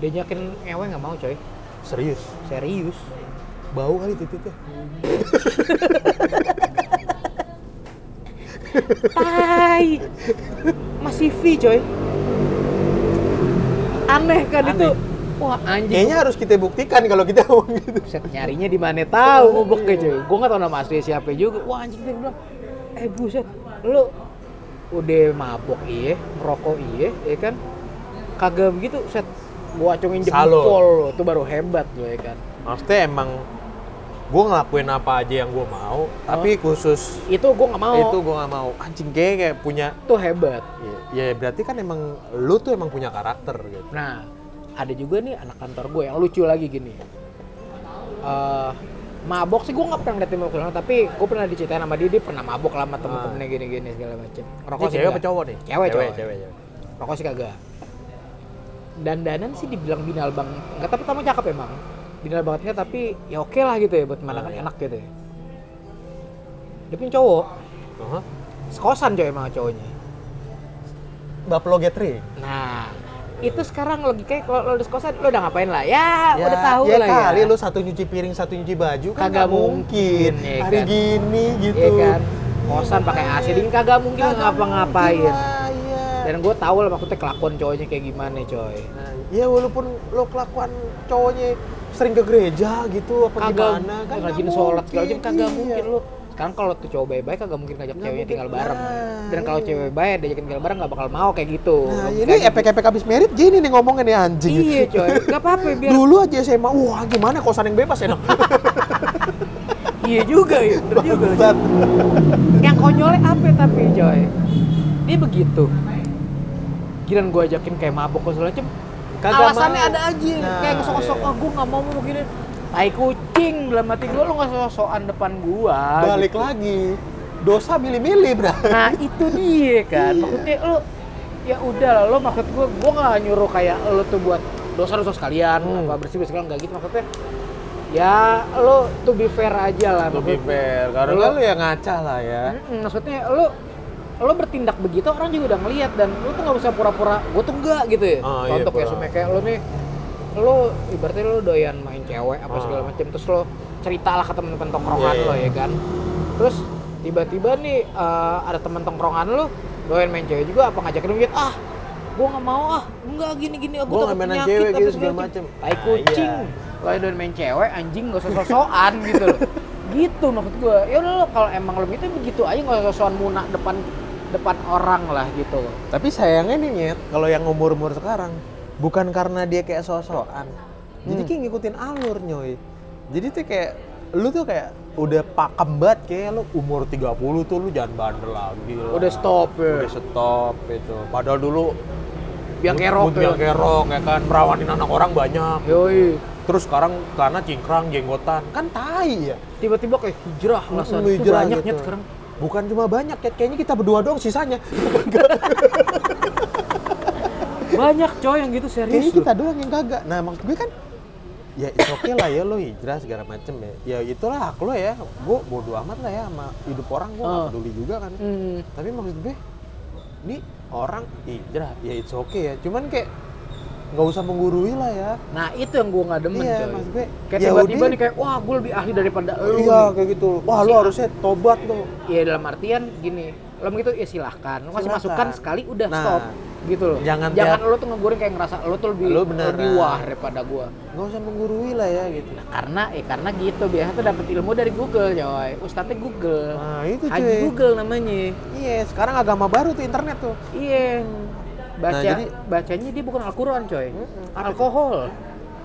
S2: dia nyakin ngewe nggak mau coy
S3: Serius.
S2: serius
S3: Bau kali titiknya.
S2: tai masih V coy aneh kan
S3: Aneh.
S2: itu wah anjing
S3: Kayaknya harus kita buktikan kalau kita ngomong gitu.
S2: Set nyarinya di mana tahu ngoboknya coy gue nggak tahu nama asli siapa juga wah anjing dia bilang eh buset lu udah mabok iya ngerokok iya ya kan kagak begitu set gua acungin
S3: Salo.
S2: jempol lo itu baru hebat lo ya kan
S3: Maksudnya emang gue ngelakuin apa aja yang gue mau, tapi
S2: Oh.
S3: khusus
S2: itu gua nggak mau
S3: itu
S2: itu
S3: gue nggak mau. Anjing kayak kayak punya
S2: tuh hebat
S3: Ya, ya berarti kan emang lu tuh emang punya karakter gitu.
S2: Nah, ada juga nih anak kantor gue yang lucu lagi gini. Eh, mabok sih gue nggak pernah ngeliatin mabok orang, tapi gue pernah diceritain sama dia, dia pernah mabok lah sama temen-temennya gini-gini segala macem. Rokok
S3: Ini
S2: sih
S3: Ah. cewek apa
S2: enggak.
S3: cowok nih?
S2: Cewek,
S3: cewek,
S2: cowok.
S3: cewek, cewek.
S2: Rokok sih kagak. Dandanan sih dibilang binal bang, nggak tapi tamu cakep emang. Binal bangetnya tapi ya oke lah gitu ya buat pemandangan
S3: Ah, iya.
S2: enak gitu ya. Dia punya cowok,
S3: Aha.
S2: sekosan coy emang cowoknya.
S3: Bap lo getri.
S2: Nah, itu sekarang logikanya kalau lo di sekosan lo udah ngapain lah? Ya, udah tahu
S3: ya
S2: lah
S3: kali
S2: ya.
S3: lu satu nyuci piring, satu nyuci baju kan
S2: Kagak
S3: nggak mungkin.
S2: mungkin, ya
S3: Hari
S2: kan?
S3: gini gitu.
S2: Iya kan? Kosan pakai AC dingin kagak mungkin
S3: Iya. Kagak mungkin
S2: ngapa-ngapain.
S3: lah, Iya.
S2: Dan gue tahu lah maksudnya kelakuan cowoknya kayak gimana coy.
S3: Nah, ya walaupun lo kelakuan cowoknya sering ke gereja gitu apa
S2: Kagak
S3: gimana kan nggak
S2: rajin sholat segala
S3: mungkin,
S2: macam kagak
S3: iya.
S2: mungkin lu. Sekarang kalau tuh cowok baik-baik kagak mungkin ngajak
S3: Nggak
S2: ceweknya
S3: mungkin.
S2: tinggal bareng.
S3: Nah,
S2: Dan kalau
S3: iya.
S2: cewek baik diajakin tinggal bareng nggak bakal mau kayak gitu.
S3: Nah,
S2: Logika
S3: ini
S2: gitu.
S3: epek-epek habis merit gini nih ngomongin ya anjing.
S2: Iya coy, nggak apa-apa biar
S3: Dulu aja SMA, wah gimana kosan yang bebas enak.
S2: iya juga ya, bener juga.
S3: Bangsat.
S2: Yang konyolnya apa tapi coy? Dia begitu. Giran gue ajakin kayak mabok dan segala macem.
S3: Kagak
S2: alasannya
S3: mau.
S2: ada aja
S3: Nah,
S2: kayak ngesok-ngesok
S3: iya.
S2: ah gue nggak mau mau begini tai kucing dalam hati gue lu nggak sosokan depan gua
S3: Nah, Balik
S2: gitu.
S3: lagi. Dosa milih-milih, bro.
S2: nah itu dia kan maksudnya lu ya udah lah lu maksud gue gue nggak nyuruh kayak lu tuh buat dosa dosa sekalian
S3: Hmm.
S2: apa bersih bersih sekalian nggak gitu maksudnya ya lo to be fair aja lah
S3: lebih
S2: maksud-
S3: fair karena
S2: Lu-
S3: lu ya ngaca lah ya
S2: Mm-mm, maksudnya lo lo bertindak begitu orang juga udah ngelihat dan lo tuh nggak bisa pura-pura gue tuh enggak gitu ya
S3: Ah, iya,
S2: contoh kayak
S3: pura.
S2: Sumek, kayak lo nih lo ibaratnya lo doyan main cewek apa
S3: Ah.
S2: segala macam terus lo ceritalah ke temen-temen tongkrongan
S3: Iya,
S2: lo
S3: iya.
S2: ya kan terus tiba-tiba nih eh, ada temen tongkrongan lo doyan main cewek juga apa ngajakin lo gitu ah gue nggak mau ah enggak gini gini aku
S3: Gua
S2: takut
S3: nggak mainan
S2: penyakit,
S3: cewek
S2: apa
S3: gitu, segala macem."
S2: tai
S3: Ah,
S2: kucing
S3: iya.
S2: lo yang doyan main cewek anjing gak usah sosokan gitu loh gitu maksud gue ya udah lo kalau emang lo gitu begitu aja gak usah sosokan muna depan depan orang lah gitu
S3: tapi sayangnya nih Nyet, kalau yang umur umur sekarang bukan karena dia kayak sosokan jadi kayak ngikutin alur nyoy jadi tuh kayak lu tuh kayak udah pakem banget kayak lu umur 30 tuh lu jangan bandel lagi lah.
S2: udah stop ya
S3: udah stop itu padahal dulu
S2: biang
S3: lu-
S2: kerok
S3: lu biang
S2: ya
S3: kerok ya kan merawatin anak orang banyak
S2: yoi
S3: terus sekarang karena cingkrang jenggotan kan tai ya
S2: tiba-tiba kayak hijrah lah San.
S3: Lu
S2: Itu
S3: hijrah
S2: banyak
S3: gitu.
S2: nyet sekarang
S3: bukan cuma banyak Nyet. kayaknya kita berdua doang sisanya
S2: banyak coy yang gitu serius
S3: Kayaknya
S2: loh.
S3: kita doang yang kagak. Nah maksud gue kan, ya it's okay lah ya lo hijrah segala macem ya. Ya itulah hak lo ya. Gue bodo amat lah ya sama hidup orang. Gue nggak
S2: Ah.
S3: peduli juga kan.
S2: Hmm.
S3: Tapi maksud gue, ini orang hijrah ya it's okay ya. Cuman kayak nggak usah menggurui lah ya.
S2: nah itu yang gue nggak demen
S3: Iya,
S2: coy
S3: maksud gue,
S2: kayak
S3: ya
S2: tiba-tiba
S3: udah.
S2: nih kayak wah gue lebih ahli daripada lu
S3: iya
S2: nih.
S3: kayak gitu. Wah lo harusnya tobat lo.
S2: ya dalam artian gini lo begitu ya silahkan lo kasih
S3: Silahkan.
S2: masukan sekali udah
S3: Nah,
S2: stop gitu loh
S3: jangan
S2: jangan
S3: tiap-
S2: lo tuh ngegoreng kayak ngerasa lo tuh lebih
S3: Lo beneran.
S2: lebih wah daripada gua
S3: Nggak usah menggurui lah ya gitu.
S2: nah, karena eh karena gitu biasanya tuh dapat ilmu dari Google coy ustadznya Google
S3: Nah itu
S2: Haji
S3: cuy.
S2: Google namanya
S3: Iya sekarang agama baru tuh internet tuh.
S2: iya baca
S3: Nah, jadi-
S2: bacanya dia bukan Al-Quran coy
S3: Mm-mm.
S2: alkohol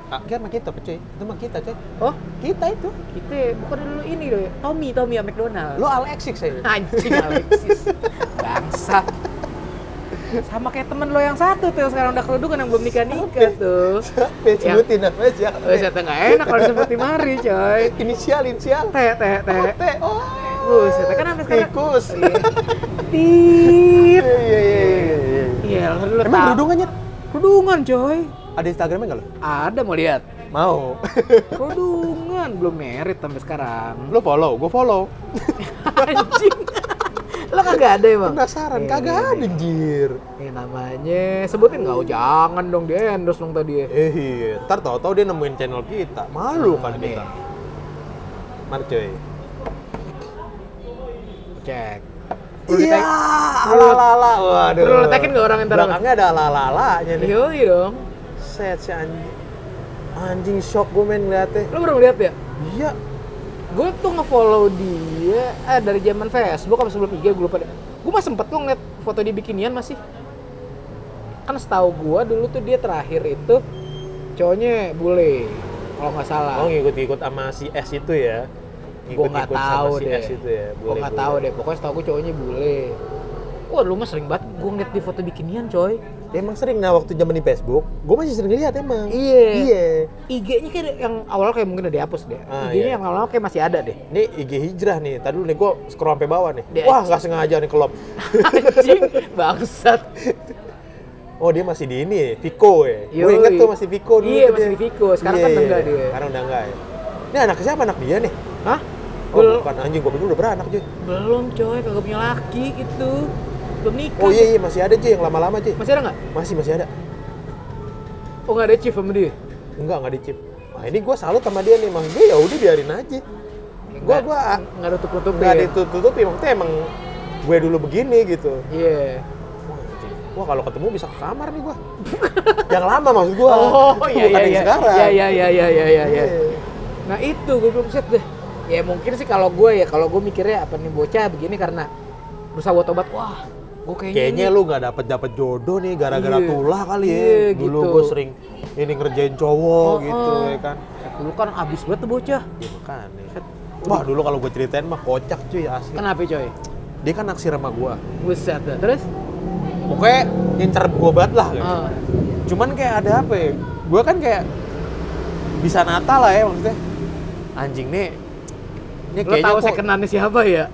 S3: Ah, kan sama kita cuy. Itu sama kita cuy.
S2: oh
S3: Kita itu.
S2: kita bukan dulu ini loh Tommy Tommy ya McDonald
S3: Lo Alexis ya.
S2: anjing Alexis bangsat sama kayak temen lo yang satu tuh yang sekarang udah kerudukan yang belum nikah nikah tuh
S3: Page
S2: Yang-
S3: sebutin aja.
S2: Wes saya nggak enak kalau disebutin mari coy
S3: Inisial, inisial.
S2: teh teh teh
S3: T. Oh.
S2: Buset, kan sampai sekarang
S3: Tikus.
S2: Iya. tit
S3: Iya, iya, iya, iya, iya.
S2: iya lo dulu
S3: Emang
S2: tau.
S3: kerudungan nyet?
S2: kerudungan coy
S3: Ada Instagramnya nggak lo?
S2: ada mau lihat
S3: Mau.
S2: kerudungan belum merit sampai sekarang
S3: lo follow, gue follow.
S2: anjing lo kagak ada emang
S3: Penasaran,
S2: Iya,
S3: kagak
S2: iya,
S3: ada anjir.
S2: Eh namanya sebutin nggak? Oh, jangan dong di endorse dong tadi ya.
S3: Eh, iya. Ntar tau-tau dia nemuin channel kita. Malu kan
S2: Nah, nih.
S3: kita. Mari cuy.
S2: Cek. Perlu
S3: Iya,
S2: di-tag-
S3: ala-ala. Waduh.
S2: Perlu letekin nggak orang yang taruh?
S3: Belakangnya ada ala-alanya nih.
S2: Yoi Iya, dong.
S3: Set si anjing. Anjing shock gue main ngeliatnya.
S2: Lo baru ngeliat ya?
S3: Iya,
S2: Gue tuh ngefollow dia eh, dari zaman Facebook apa sebelum IG gue lupa deh. Gue masih sempet tuh ngeliat foto dia bikinian masih. Kan setahu gue dulu tuh dia terakhir itu cowoknya bule kalau nggak salah.
S3: Oh ngikut-ngikut sama si S itu ya?
S2: gue nggak
S3: Ngikut-ngikut sama
S2: tahu
S3: si
S2: deh
S3: S itu ya?
S2: gue nggak tahu deh pokoknya setahu gue cowoknya bule wah lu mah sering banget gue ngeliat di foto bikinian coy
S3: Emang sering nah waktu zaman di Facebook, gue masih sering lihat emang.
S2: Iya.
S3: Iya.
S2: IG-nya kayak yang awal kayak mungkin udah dihapus deh.
S3: Ah,
S2: IG-nya
S3: iya.
S2: yang awal kayak masih ada deh.
S3: Ini IG hijrah nih. Tadi dulu nih gue scroll sampai bawah nih.
S2: Dia-
S3: Wah nggak sengaja nih kelop.
S2: Anjing, bangsat.
S3: Oh dia masih di ini, Viko ya. Gue
S2: Yoi.
S3: inget tuh masih Viko dulu.
S2: Iya,
S3: tuh
S2: masih
S3: dia.
S2: di Viko. Sekarang kan
S3: Iya,
S2: enggak dia.
S3: Sekarang udah enggak ya. Ini anak siapa anak dia nih?
S2: Hah?
S3: Oh
S2: Bel-
S3: bukan anjing, gue pikir udah beranak cuy.
S2: belum coy, kagak punya laki itu. Belum nikah.
S3: Oh iya iya masih ada cuy yang lama-lama cuy.
S2: Masih ada nggak?
S3: Masih masih ada.
S2: Oh nggak ada chief sama dia.
S3: Enggak enggak dicip. Nah ini gue salut sama dia nih, maksud gue ya udah biarin aja. Gue gue
S2: nggak ada tutup
S3: nggak ditutup-tutupi maksudnya emang gue dulu begini gitu
S2: Iya.
S3: Wah, anjing. wah kalau ketemu bisa ke kamar nih gue yang lama maksud gue
S2: Oh iya iya
S3: bukan yang
S2: iya.
S3: sekarang
S2: Iya iya iya iya iya iya.
S3: Iya.
S2: Nah itu gue belum set deh. Ya mungkin sih kalau gue ya kalau gue mikirnya apa nih bocah begini karena berusaha buat obat. Wah, gue kayaknya,
S3: kayaknya
S2: ini-
S3: lu nggak dapet dapet jodoh nih gara-gara
S2: Iya.
S3: tulah kali ya
S2: Iya,
S3: dulu
S2: gitu.
S3: gue sering ini ngerjain cowok
S2: Oh,
S3: gitu
S2: oh.
S3: ya kan
S2: dulu kan abis banget tuh bocah.
S3: ya makanya wah dulu kalau gue ceritain mah kocak cuy asli
S2: Kenapa coy?
S3: dia kan naksir sama gue
S2: Buset dah. Terus?
S3: pokoknya ngincer gue banget lah gitu.
S2: Ah,
S3: cuman kayak ada apa ya gue kan kayak bisa nata lah ya maksudnya anjing nih ini
S2: lo
S3: kayaknya
S2: tahu
S3: kok
S2: second-annya siapa ya?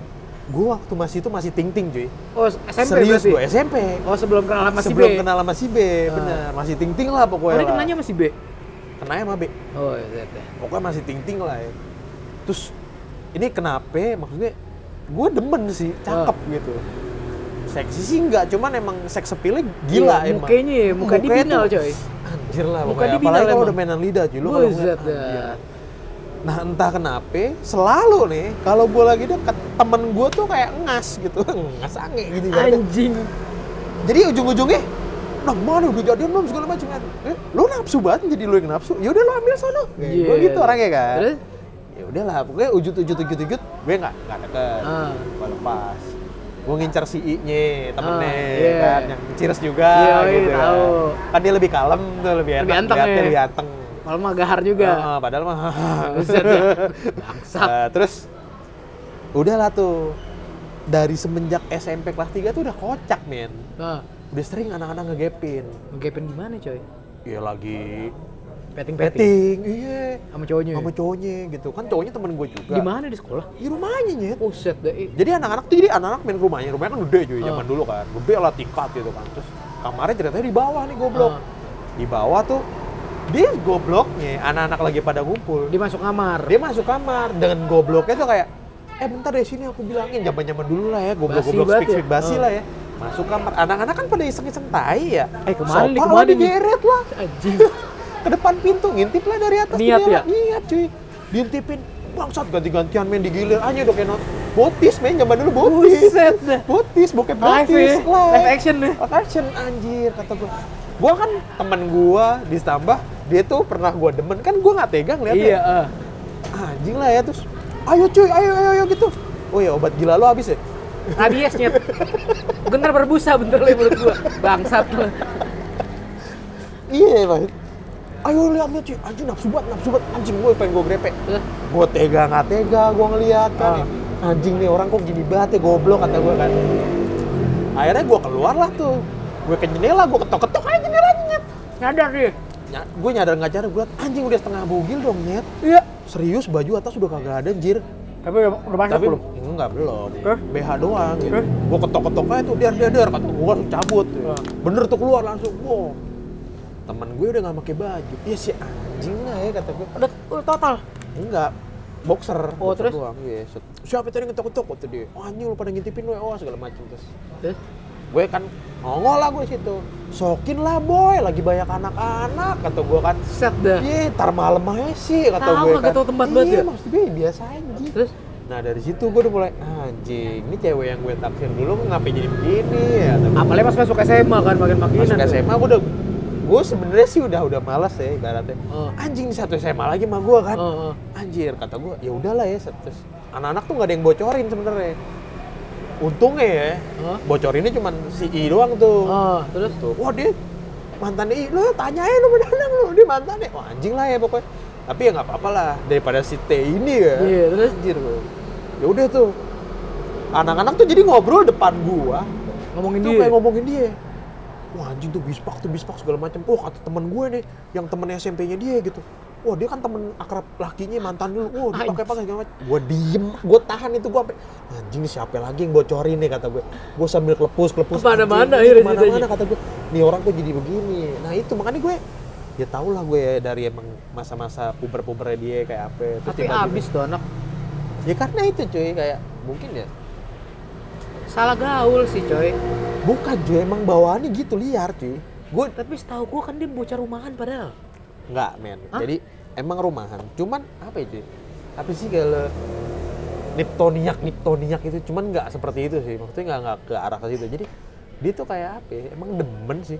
S3: gue waktu masih itu masih ting ting cuy
S2: Oh SMP
S3: serius
S2: berarti?
S3: gue SMP
S2: Oh sebelum kenal sama si B?
S3: sebelum ya, kenal sama si B
S2: Ah.
S3: bener masih ting ting lah
S2: Oh
S3: pokoknya
S2: dia
S3: lah.
S2: kenalnya sama si B?
S3: kenanya sama B
S2: oh iya iya.
S3: pokoknya masih ting-ting lah ya. Terus ini kenapa? Maksudnya gue demen sih, cakep
S2: Ah.
S3: gitu. Seksi sih enggak, cuman emang seks appeal-nya gila
S2: Iya,
S3: emang.
S2: mukanya ya, muka
S3: Mukanya
S2: dibinal,
S3: tuh,
S2: coy.
S3: Anjir lah,
S2: Muka
S3: mukanya.
S2: dibinal
S3: apalagi kalau
S2: emang.
S3: udah mainan lidah cuy. Lu kalau ngeliat,
S2: Buset dah.
S3: anjir. Nah entah kenapa, selalu nih, kalau gue lagi deket, temen gue tuh kayak ngas gitu.
S2: Hmm,
S3: ngas ange gitu. ibaratnya.
S2: anjing
S3: Jadi ujung-ujungnya, nah mana udah jadian belum segala macam kan. Eh, lu nafsu banget jadi lu yang nafsu. Yaudah lu ambil sono. Kayak Gue
S2: Iya.
S3: gitu orangnya kan
S2: Terus?
S3: ya udahlah pokoknya ujut ujut ujut ujut gue nggak nggak deket
S2: Ah.
S3: gue lepas gue ngincer si I nya temennya
S2: Ah, iya.
S3: kan yang cheers juga
S2: Iya, iya,
S3: gitu kan.
S2: tahu.
S3: kan dia lebih kalem tuh lebih enak
S2: Lebih anteng
S3: liatnya
S2: ya.
S3: lebih anteng
S2: malah mah gahar juga
S3: Ah, padahal mah
S2: Buset ya. Bangsat.
S3: Nah, terus udahlah tuh dari semenjak SMP kelas 3 tuh udah kocak men
S2: nah,
S3: udah sering anak-anak ngegepin
S2: ngegepin gimana coy
S3: ya lagi
S2: petting petting
S3: petting iya
S2: sama cowoknya
S3: sama cowoknya gitu kan cowoknya temen gue juga
S2: di mana di sekolah
S3: di rumahnya nyet
S2: Buset deh. ih.
S3: Jadi anak-anak tuh jadi anak-anak main ke rumahnya. Rumahnya kan gede juga
S2: Ah.
S3: zaman dulu kan. Gede lah tingkat gitu kan. Terus kamarnya ceritanya di bawah nih goblok.
S2: Ah.
S3: Di bawah tuh dia gobloknya anak-anak lagi pada ngumpul.
S2: Dia masuk kamar.
S3: Dia masuk kamar dengan gobloknya tuh kayak eh bentar deh sini aku bilangin zaman-zaman dulu lah ya goblok-goblok
S2: Basi banget
S3: speak speak
S2: ya?
S3: basi
S2: Ah.
S3: lah ya. Masuk kamar anak-anak kan pada iseng-iseng tai ya.
S2: Eh, kemarin nih,
S3: Sopan lah
S2: kemarin nih.
S3: digeret lah
S2: Anjing.
S3: ke depan pintu ngintip lah dari atas
S2: Niat
S3: jendela.
S2: ya?
S3: niat cuy diintipin bangsat ganti-gantian main digilir aja udah kayak not botis main zaman dulu botis
S2: Buset dah.
S3: botis bokep
S2: Live
S3: botis
S2: ya. Live action ya.
S3: live action anjir kata gua gua kan temen gua ditambah dia tuh pernah gua demen kan gua nggak tegang
S2: Iya,
S3: liatnya
S2: ah.
S3: anjing lah ya terus ayo cuy ayo ayo ayo gitu oh ya obat gila lo habis ya
S2: Rabiesnya. Bentar berbusa bentar lu mulut gua. Bangsat lu.
S3: iya banget ayo lihat lihat cuy anjing nafsu banget nafsu banget anjing gua pengen gua grepe
S2: Eh,
S3: gue tega nggak tega gue ngeliat kan
S2: Ah.
S3: anjing nih orang kok gini banget ya goblok kata gue kan akhirnya gue keluar lah tuh gue ke jendela gue ketok ketok aja jendelanya nyet
S2: Nyadar dia.
S3: gue nyadar nggak nyadar gue anjing udah setengah bugil dong nyet
S2: Iya.
S3: serius baju atas udah kagak ada anjir
S2: Tapi udah, udah masuk
S3: tapi
S2: belum?
S3: enggak belum
S2: Eh?
S3: BH doang gitu.
S2: Eh?
S3: gue ketok ketok aja tuh der der der kata gue langsung cabut gitu.
S2: Ah.
S3: bener tuh keluar langsung wow temen gue udah nggak pakai baju ya si anjing lah ya kata gue
S2: Udah, udah total.
S3: Enggak, boxer.
S2: Oh,
S3: boxer
S2: terus?
S3: doang, iya, set. Siapa tadi ngetok-ngetok kata dia? Oh, anjing lu pada ngintipin lu, oh segala macam terus.
S2: Terus?
S3: Gue kan nongol lah gue di situ. Sokin lah boy, lagi banyak anak-anak kata gue kan.
S2: Set dah.
S3: Iya, ntar malam aja sih kata
S2: Tahu
S3: gue
S2: nggak tahu tempat banget
S3: Iya,
S2: ya?
S3: maksud gue biasa aja.
S2: Terus?
S3: Nah dari situ gue udah mulai "Ah, anjing, ini cewek yang gue taksir dulu ngapain jadi begini ya? kata gue.
S2: Apalagi pas masuk SMA kan makin makinan.
S3: Masuk
S2: tuh.
S3: SMA gue udah gue sebenarnya sih udah udah malas ya ibaratnya.
S2: Oh.
S3: Anjing di satu SMA lagi sama gue kan.
S2: Oh, oh.
S3: Anjir kata gue, ya udahlah ya. set. Terus anak-anak tuh nggak ada yang bocorin sebenarnya. Untungnya ya,
S2: Hah?
S3: bocorinnya cuma si I doang tuh.
S2: Oh, terus?
S3: Tuh, wah dia mantan I, lu tanyain lu beneran lu dia mantan ya. Wah anjing lah ya pokoknya. Tapi ya nggak apa-apa lah daripada si T ini ya.
S2: Iya, terus?
S3: Anjir gue. Ya udah tuh. Anak-anak tuh jadi ngobrol depan gua.
S2: Ngomongin
S3: Itu
S2: dia.
S3: kayak ngomongin dia. Wah anjing tuh bispak tuh bispak segala macam. Oh kata temen gue nih, yang temen SMP-nya dia gitu. Wah dia kan temen akrab lakinya mantan dulu. Wah dia pakai pakai segala macam. Gue diem, gue tahan itu gue sampai anjing nih siapa lagi yang bocorin nih kata gue. Gue sambil kelepus kelepus.
S2: Kemana-mana
S3: anjing,
S2: akhirnya
S3: kemana-mana,
S2: ceritanya.
S3: kata gue. Nih orang kok jadi begini. Nah itu makanya gue ya tau lah gue ya, dari emang masa-masa puber-pubernya dia kayak apa. Terus
S2: Tapi
S3: tiba-tiba-
S2: abis tuh anak.
S3: Ya karena itu cuy kayak mungkin ya.
S2: Salah gaul sih coy.
S3: Bukan cuy emang bawaannya gitu liar cuy. Gue
S2: Tapi setahu gua kan dia bocah rumahan padahal.
S3: Enggak, men.
S2: Hah?
S3: Jadi emang rumahan. Cuman apa itu? Apa sih kalau niptoniak niptoniak itu cuman nggak seperti itu sih maksudnya nggak nggak ke arah ke situ jadi dia tuh kayak apa ya, emang demen sih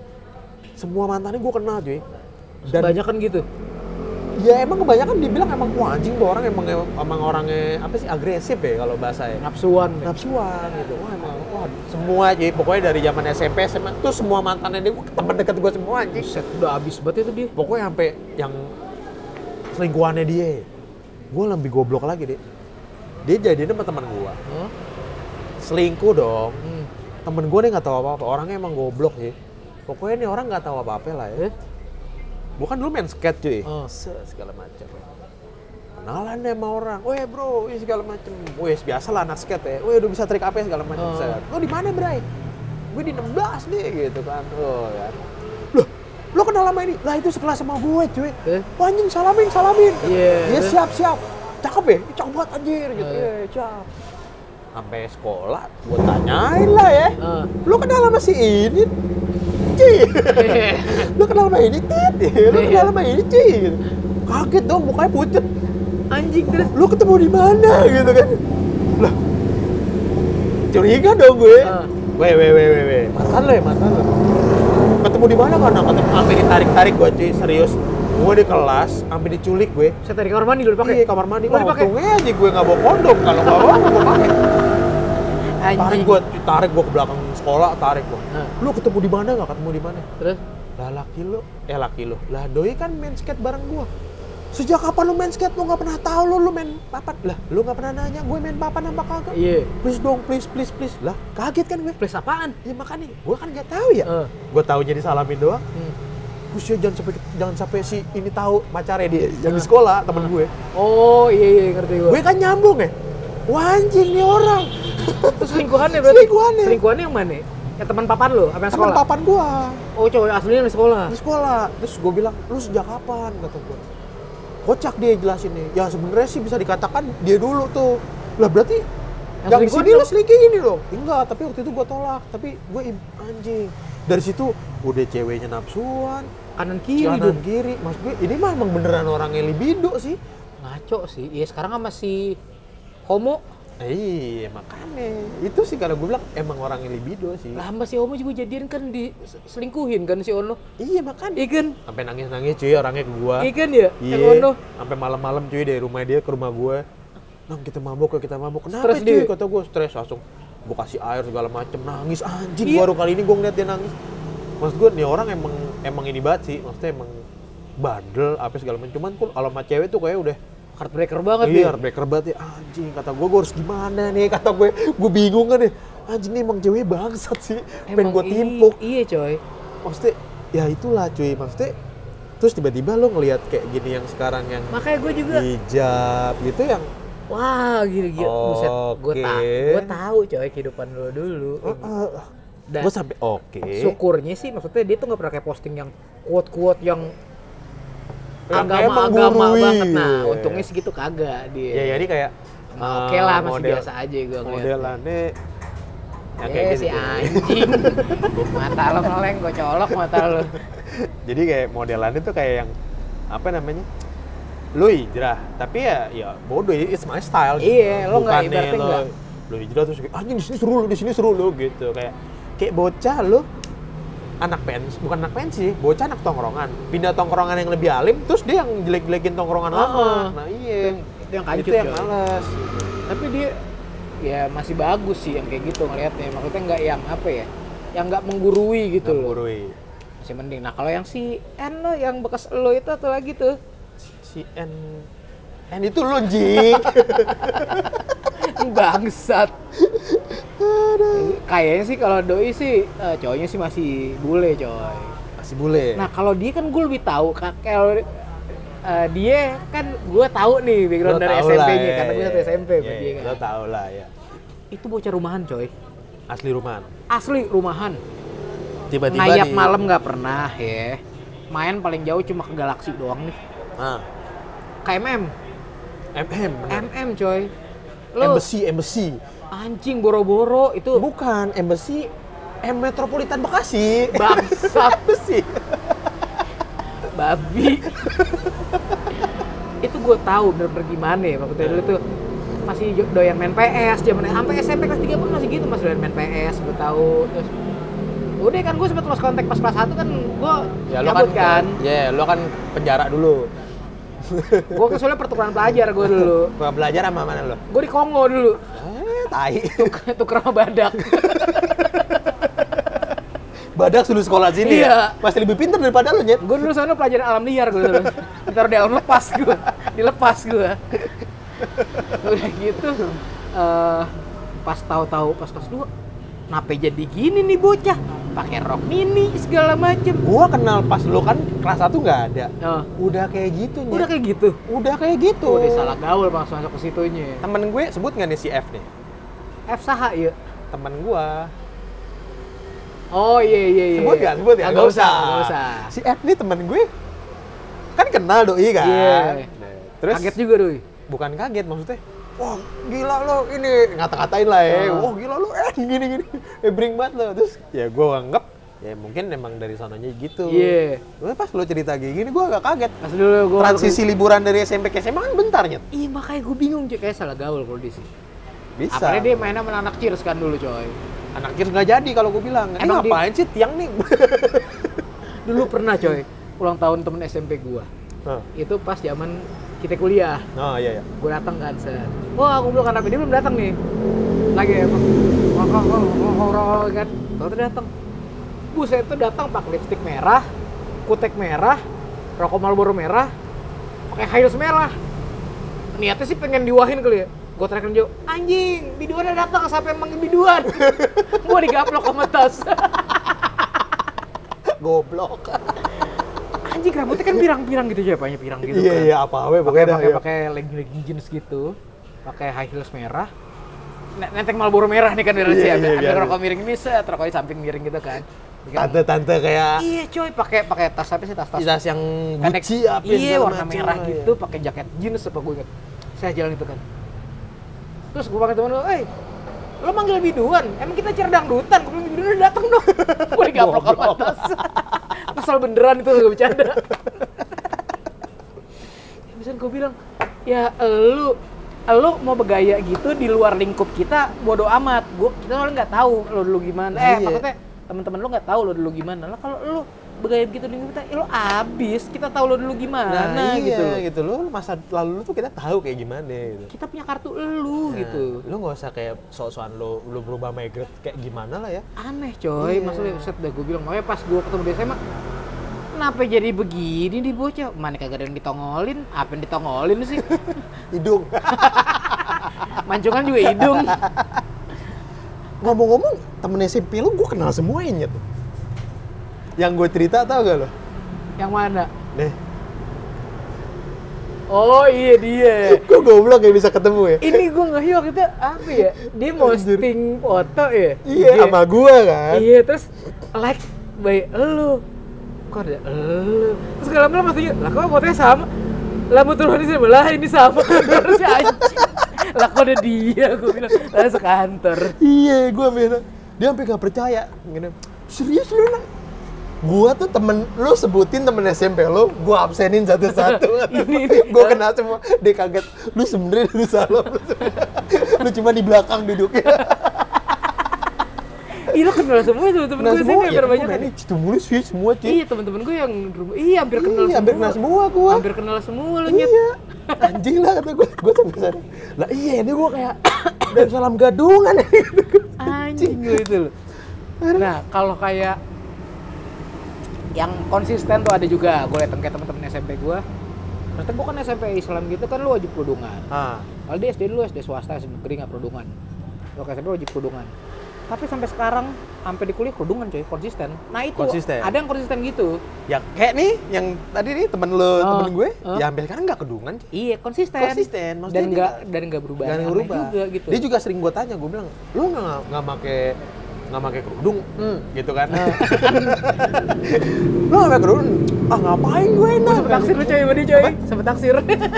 S3: semua mantannya gue kenal cuy dan
S2: Banyak kan gitu.
S3: ya emang kebanyakan dibilang emang wah anjing tuh orang emang emang orangnya apa sih agresif ya kalau bahasa ya
S2: Nafsuan. ya.
S3: nafsuan gitu wah emang wah semua cuy pokoknya dari zaman SMP SMA tuh semua mantannya dia gua- teman dekat gue semua anjing
S2: Buset, udah abis banget itu dia.
S3: pokoknya sampai yang selingkuhannya dia gue lebih goblok lagi deh dia jadiin sama teman gue
S2: Hah?
S3: selingkuh dong
S2: Hmm.
S3: temen gue nih nggak tahu apa apa orangnya emang goblok sih pokoknya nih orang nggak tahu apa apa lah ya bukan dulu main skate cuy
S2: Oh.
S3: Se- segala macam kenalan deh sama orang, weh bro, weh segala macem, weh biasa lah anak skate ya, weh udah bisa trik apa ya segala macem,
S2: Oh.
S3: set. lo di mana bray? Gue di 16 nih gitu kan, oh ya, loh lo kenal lama ini lah itu sekelas sama gue cuy
S2: Eh?
S3: Wah, anjing salamin salamin Iya,
S2: Iya.
S3: siap siap cakep ya Ih, cakep banget anjir gitu
S2: Eh.
S3: Iya, cakep sampai sekolah gue tanyain lah ya
S2: Eh.
S3: lo kenal sama si ini cuy lo kenal sama ini tit lo
S2: Iya.
S3: kenal sama ini cuy gitu. kaget dong mukanya pucet
S2: anjing terus
S3: lu ketemu di mana gitu kan lah curiga dong gue
S2: Ah.
S3: weh weh weh weh weh mantan lo ya mantan lo ketemu di mana karena ketemu sampai ditarik tarik gue cuy serius gue di kelas sampai diculik gue
S2: saya tarik kamar mandi dulu
S3: pakai
S2: pakai
S3: kamar mandi
S2: Oh,
S3: Wah,
S2: dipakai.
S3: untungnya aja gue nggak bawa kondom kalau nggak bawa gue pakai tarik
S2: anjing
S3: gue tarik gue ke belakang sekolah tarik gue
S2: Ah.
S3: lu ketemu di mana nggak ketemu di mana
S2: terus
S3: lah laki lu eh laki lu lah doi kan main skate bareng gua sejak kapan lu main skate lu nggak pernah tahu lu lu main papan lah lu nggak pernah nanya gue main papan apa kagak
S2: iya
S3: please dong please please please lah kaget kan gue
S2: plus apaan
S3: ya makanya gue kan nggak tahu ya
S2: Eh.
S3: gue tahu jadi salamin doang
S2: Hmm.
S3: Kusya jangan sampai jangan sampai si ini tahu pacarnya dia yang di
S2: Ah.
S3: sekolah temen gue
S2: oh iya iya ngerti gue
S3: gue kan nyambung ya Wah anjing nih orang
S2: terus selingkuhannya berarti
S3: Selingkuhannya.
S2: selingkuhannya yang mana ya teman papan lo apa
S3: temen
S2: yang sekolah
S3: papan gua
S2: oh cowok aslinya di sekolah
S3: di sekolah terus gue bilang lu sejak kapan kata gue kocak dia jelasin nih ya sebenarnya sih bisa dikatakan dia dulu tuh lah berarti yang di
S2: selingkuh
S3: sini
S2: dia-
S3: lu selingkuh ini loh enggak tapi waktu itu gue tolak tapi gue im- anjing dari situ udah ceweknya nafsuan
S2: kanan kiri
S3: kanan
S2: dong
S3: kiri maksud gue ini mah emang beneran orangnya libido sih
S2: ngaco sih iya sekarang kan masih homo
S3: Eh, iya makanya itu sih kalau gue bilang emang orangnya libido sih
S2: lah masih homo juga jadian kan diselingkuhin kan si Ono
S3: iya makanya
S2: iya kan
S3: sampai nangis nangis cuy orangnya ke gue
S2: iya kan ya yang Ono
S3: Iya, sampai malam-malam cuy dari rumah dia ke rumah gue. Nang kita mabok ya kita mabok. Kenapa
S2: Stres
S3: cuy?
S2: dia.
S3: Kata gue stres langsung. Gue kasih air segala macem nangis anjing
S2: Iya.
S3: baru kali ini gue ngeliat dia nangis. Maksud gue nih orang emang emang ini banget sih. Maksudnya emang bandel apa segala macam. Cuman kul- kalau sama cewek tuh kayak udah
S2: heartbreaker banget
S3: iya,
S2: dia
S3: heartbreaker banget ya anjing kata gue gue harus gimana nih kata gue gue bingung kan ya anjing nih emang cewek bangsat sih pengen gue
S2: i-
S3: timpuk
S2: iya coy
S3: maksudnya ya itulah cuy maksudnya terus tiba-tiba lo ngelihat kayak gini yang sekarang yang
S2: makanya gue juga
S3: Iya. hijab gitu yang
S2: wah gila gila buset gue tak
S3: Oke.
S2: gue tahu coy kehidupan lo dulu Dan-
S3: gue eh, sampai oke
S2: syukurnya sih maksudnya dia tuh nggak pernah kayak posting yang quote-quote yang
S3: Yang Iya. emang
S2: agama-agama
S3: gurui.
S2: banget nah untungnya segitu kagak dia
S3: ya jadi kayak
S2: Nah,
S3: eh,
S2: oke lah masih
S3: model-
S2: biasa aja gue ngeliat
S3: modelannya yang
S2: ya
S3: kayak
S2: si
S3: gitu
S2: anjing mata lo meleng gue colok mata lo
S3: jadi kayak modelannya tuh kayak yang apa namanya lu hijrah tapi ya ya bodoh it's my style
S2: Iya, lo nggak-
S3: Bukannya
S2: ibaratnya
S3: lo,
S2: nggak.
S3: lo hijrah terus kayak anjing di sini seru lu di sini seru lu gitu kayak kayak bocah lu anak pensi bukan anak pensi bocah anak tongkrongan pindah tongkrongan yang lebih alim terus dia yang jelek-jelekin tongkrongan lama
S2: Ah,
S3: nah iya
S2: yang- itu yang kancut,
S3: itu yang
S2: coy.
S3: males
S2: tapi dia ya masih bagus sih yang kayak gitu ngeliatnya maksudnya nggak yang apa ya yang nggak menggurui gitu loh
S3: Ngurui.
S2: masih mending nah kalau yang si N lo yang bekas lo itu atau lagi tuh
S3: si N N itu lu jing
S2: bangsat kayaknya sih kalau doi sih eh, cowoknya sih masih bule coy
S3: masih bule
S2: nah kalau dia kan gue lebih tahu Kak. kalau eh, dia kan gue tahu nih background
S3: Lo
S2: dari
S3: tau lah,
S2: SMP-nya
S3: ya,
S2: karena gue
S3: ya,
S2: satu
S3: ya.
S2: SMP sama
S3: Ya,
S2: dia
S3: ya,
S2: kan.
S3: lo tau lah ya
S2: itu bocah rumahan coy
S3: asli rumahan
S2: asli rumahan
S3: tiba-tiba
S2: ngayap
S3: di-
S2: malam nggak pernah ya main paling jauh cuma ke galaksi doang nih
S3: ah,
S2: KMM
S3: MM bener.
S2: MM coy lo
S3: embassy embassy
S2: anjing boro-boro itu
S3: bukan embassy M Metropolitan Bekasi
S2: bangsat
S3: embassy
S2: babi itu gue tahu bener-bener gimana ya maksudnya dulu tuh masih jo- doyan main PS zaman sampai SMP kelas 3 pun masih gitu masih doyan main PS gue tahu terus udah kan gue sempet lost kontak pas kelas 1 kan gue cabut kan,
S3: ya lo kan penjara dulu
S2: gue kesulitan pertukaran pelajar gue dulu
S3: Gua belajar sama mana lo
S2: gue di Kongo dulu
S3: eh tai
S2: tuker sama badak
S3: badak dulu sekolah sini
S2: Iya.
S3: ya masih lebih pintar daripada lo nyet
S2: gue dulu sana pelajaran alam liar gue dulu ditaruh di alam lepas gue dilepas gue udah gitu eh, pas tahu-tahu pas kelas 2 nape jadi gini nih bocah pakai rok mini segala macem
S3: gua kenal pas lo kan kelas 1 nggak ada
S2: Eh,
S3: udah kayak gitu Nyet.
S2: udah kayak gitu
S3: udah kayak gitu
S2: udah salah gaul langsung masuk ke situnya
S3: temen gue
S2: iya.
S3: sebut nggak nih si F nih
S2: F saha ya
S3: temen gua
S2: Oh iya iya iya.
S3: Sebut gak? Sebut ya?
S2: Enggak usah.
S3: Nggak
S2: Enggak usah.
S3: Si Ed nih temen gue, kan kenal doi kan?
S2: Iya.
S3: Nah, Terus,
S2: Kaget juga, Doi.
S3: bukan kaget maksudnya, wah gila lo ini, ngata-ngatain lah ya,
S2: Ah.
S3: wah gila lo Ed, gini-gini, eh bring banget lo. Terus ya gue anggap, ya mungkin emang dari sononya gitu.
S2: Iya.
S3: Tapi pas lo cerita kayak gini, gue agak kaget.
S2: Pas dulu gua
S3: Transisi liburan dari SMP ke SMA kan bentar nyet.
S2: Iya makanya gue bingung cuy, kayak salah gaul kalau dia sih.
S3: Bisa.
S2: Apalagi dia mainnya sama anak cheers kan dulu coy.
S3: anak kir nggak jadi kalau gue bilang. Eh,
S2: Emang di-
S3: ngapain sih tiang nih?
S2: Dulu pernah coy, ulang tahun temen SMP gua.
S3: nah,
S2: Itu pas zaman kita kuliah.
S3: nah, iya iya.
S2: gue datang kan set wah aku belum anak ini belum datang nih lagi ya horor kan tau tuh datang buset tuh datang pakai lipstick merah kutek merah rokok Marlboro merah pakai heels merah niatnya sih pengen diwahin kali ya gue teriakin jauh anjing biduan udah datang sampai emang biduan gue digaplok sama tas
S3: Goblok.
S2: anjing rambutnya kan pirang-pirang gitu ya banyak pirang gitu
S3: Iya
S2: kan.
S3: iya apa we
S2: pakai
S3: pokoknya dah,
S2: pakai
S3: iya.
S2: pakai legging legging jeans gitu pakai high heels merah N- nenteng Marlboro merah nih kan
S3: Iya,
S2: dari sih
S3: iya,
S2: ada, ada
S3: biasa.
S2: rokok miring ini set rokok di samping miring gitu kan Bikin-
S3: Tante-tante kayak
S2: iya coy pakai pakai tas apa sih tas tas
S3: tas yang Iya,
S2: pendek.
S3: Gucci apa
S2: iya
S3: segala
S2: warna
S3: macam lah,
S2: merah
S3: iya.
S2: gitu pakai jaket jeans apa gue inget saya jalan itu kan terus gue pakai temen lo eh lo manggil biduan emang kita cerdang dutan gue bilang biduan udah datang dong gue digaplok sama
S3: Goblok.
S2: tas kesel beneran itu gak bercanda bisa gue bilang ya lu lu mau bergaya gitu di luar lingkup kita bodoh amat gua kita orang nggak tahu lo dulu gimana eh
S3: Iya.
S2: maksudnya teman-teman lu nggak tahu lo dulu gimana lah kalau lu bergaya begitu di lingkup kita ya lo abis kita tahu lo dulu gimana
S3: Nah, nah gitu
S2: gitu loh.
S3: loh. gitu loh masa lalu lu tuh kita tahu kayak gimana gitu.
S2: kita punya kartu lu
S3: Nah,
S2: gitu
S3: Lu nggak usah kayak sok-sokan lu lu berubah migrate kayak gimana lah ya.
S2: aneh
S3: Iya.
S2: coy maksudnya set dah gue bilang makanya pas gue ketemu dia SMA kenapa jadi begini di bocah mana kagak ada yang ditongolin apa yang ditongolin sih
S3: Hidung.
S2: mancungan juga hidung
S3: Ngomong-ngomong, temen SMP lu gue kenal semuanya tuh. Yang gue cerita tau gak lo?
S2: yang mana
S3: Nih,
S2: oh iya dia
S3: kok goblok ya bisa ketemu ya?
S2: ini gue nggak waktu itu apa ya dia posting foto ya
S3: Iya,
S2: Dia-
S3: sama gue kan.
S2: iya terus like by elu kok ada elu terus kalau lama maksudnya lah kok fotonya sama lah betul ini sama lah ini sama terus si anjing lah kok ada dia gue bilang lah sekantor
S3: Iya, gue bilang. Dia sampai gak percaya. Gini, serius lu nak? Gue tuh temen, lu sebutin temen SMP lu, gue absenin satu-satu.
S2: Ini, ini.
S3: gue kenal semua. Dia kaget, lu sebenernya lu salah. Lu, sebenernya. Lu cuma di belakang duduknya.
S2: ih lo kenal semua temen-temen
S3: Kenal
S2: gue sih
S3: semua, ya,
S2: hampir banyak
S3: gue manage, itu mulu sih, semua sih.
S2: iya temen-temen gue yang di rumah iya hampir kenal
S3: Iya,
S2: semua
S3: hampir kenal semua gue.
S2: hampir kenal semua lo nyet
S3: Iya. Anjing lah kata gue. Gue sampai sana. Lah iya ini gue kayak dan salam gadungan ya.
S2: anjing lo itu lo nah kalau kayak yang konsisten tuh ada juga gue datang kayak temen-temen SMP gue ternyata gue kan SMP Islam gitu kan lu wajib kerudungan
S3: Ah,
S2: kalau di SD dulu SD swasta SD negeri nggak kerudungan lo ke SMP wajib kerudungan tapi sampai sekarang sampai di kuliah kerudungan coy konsisten nah itu
S3: Konsisten.
S2: ada yang konsisten gitu
S3: ya kayak nih yang tadi nih temen lu, temen gue,
S2: ah.
S3: ya hampir sekarang nggak kedungan. sih.
S2: iya konsisten
S3: Konsisten, maksudnya
S2: dan
S3: dia
S2: nggak
S3: nggak-
S2: dan nggak berubah
S3: Nggak
S2: Aneh
S3: ngerubah.
S2: juga gitu
S3: Dia juga sering gue tanya, gue bilang, lu nggak nggak make nggak pakai kerudung, Hmm, gitu kan?
S2: Nah.
S3: lu nggak pakai kerudung, ah ngapain gue
S2: Gua
S3: enak?
S2: sempet taksir lu coy sama dia coy sempet taksir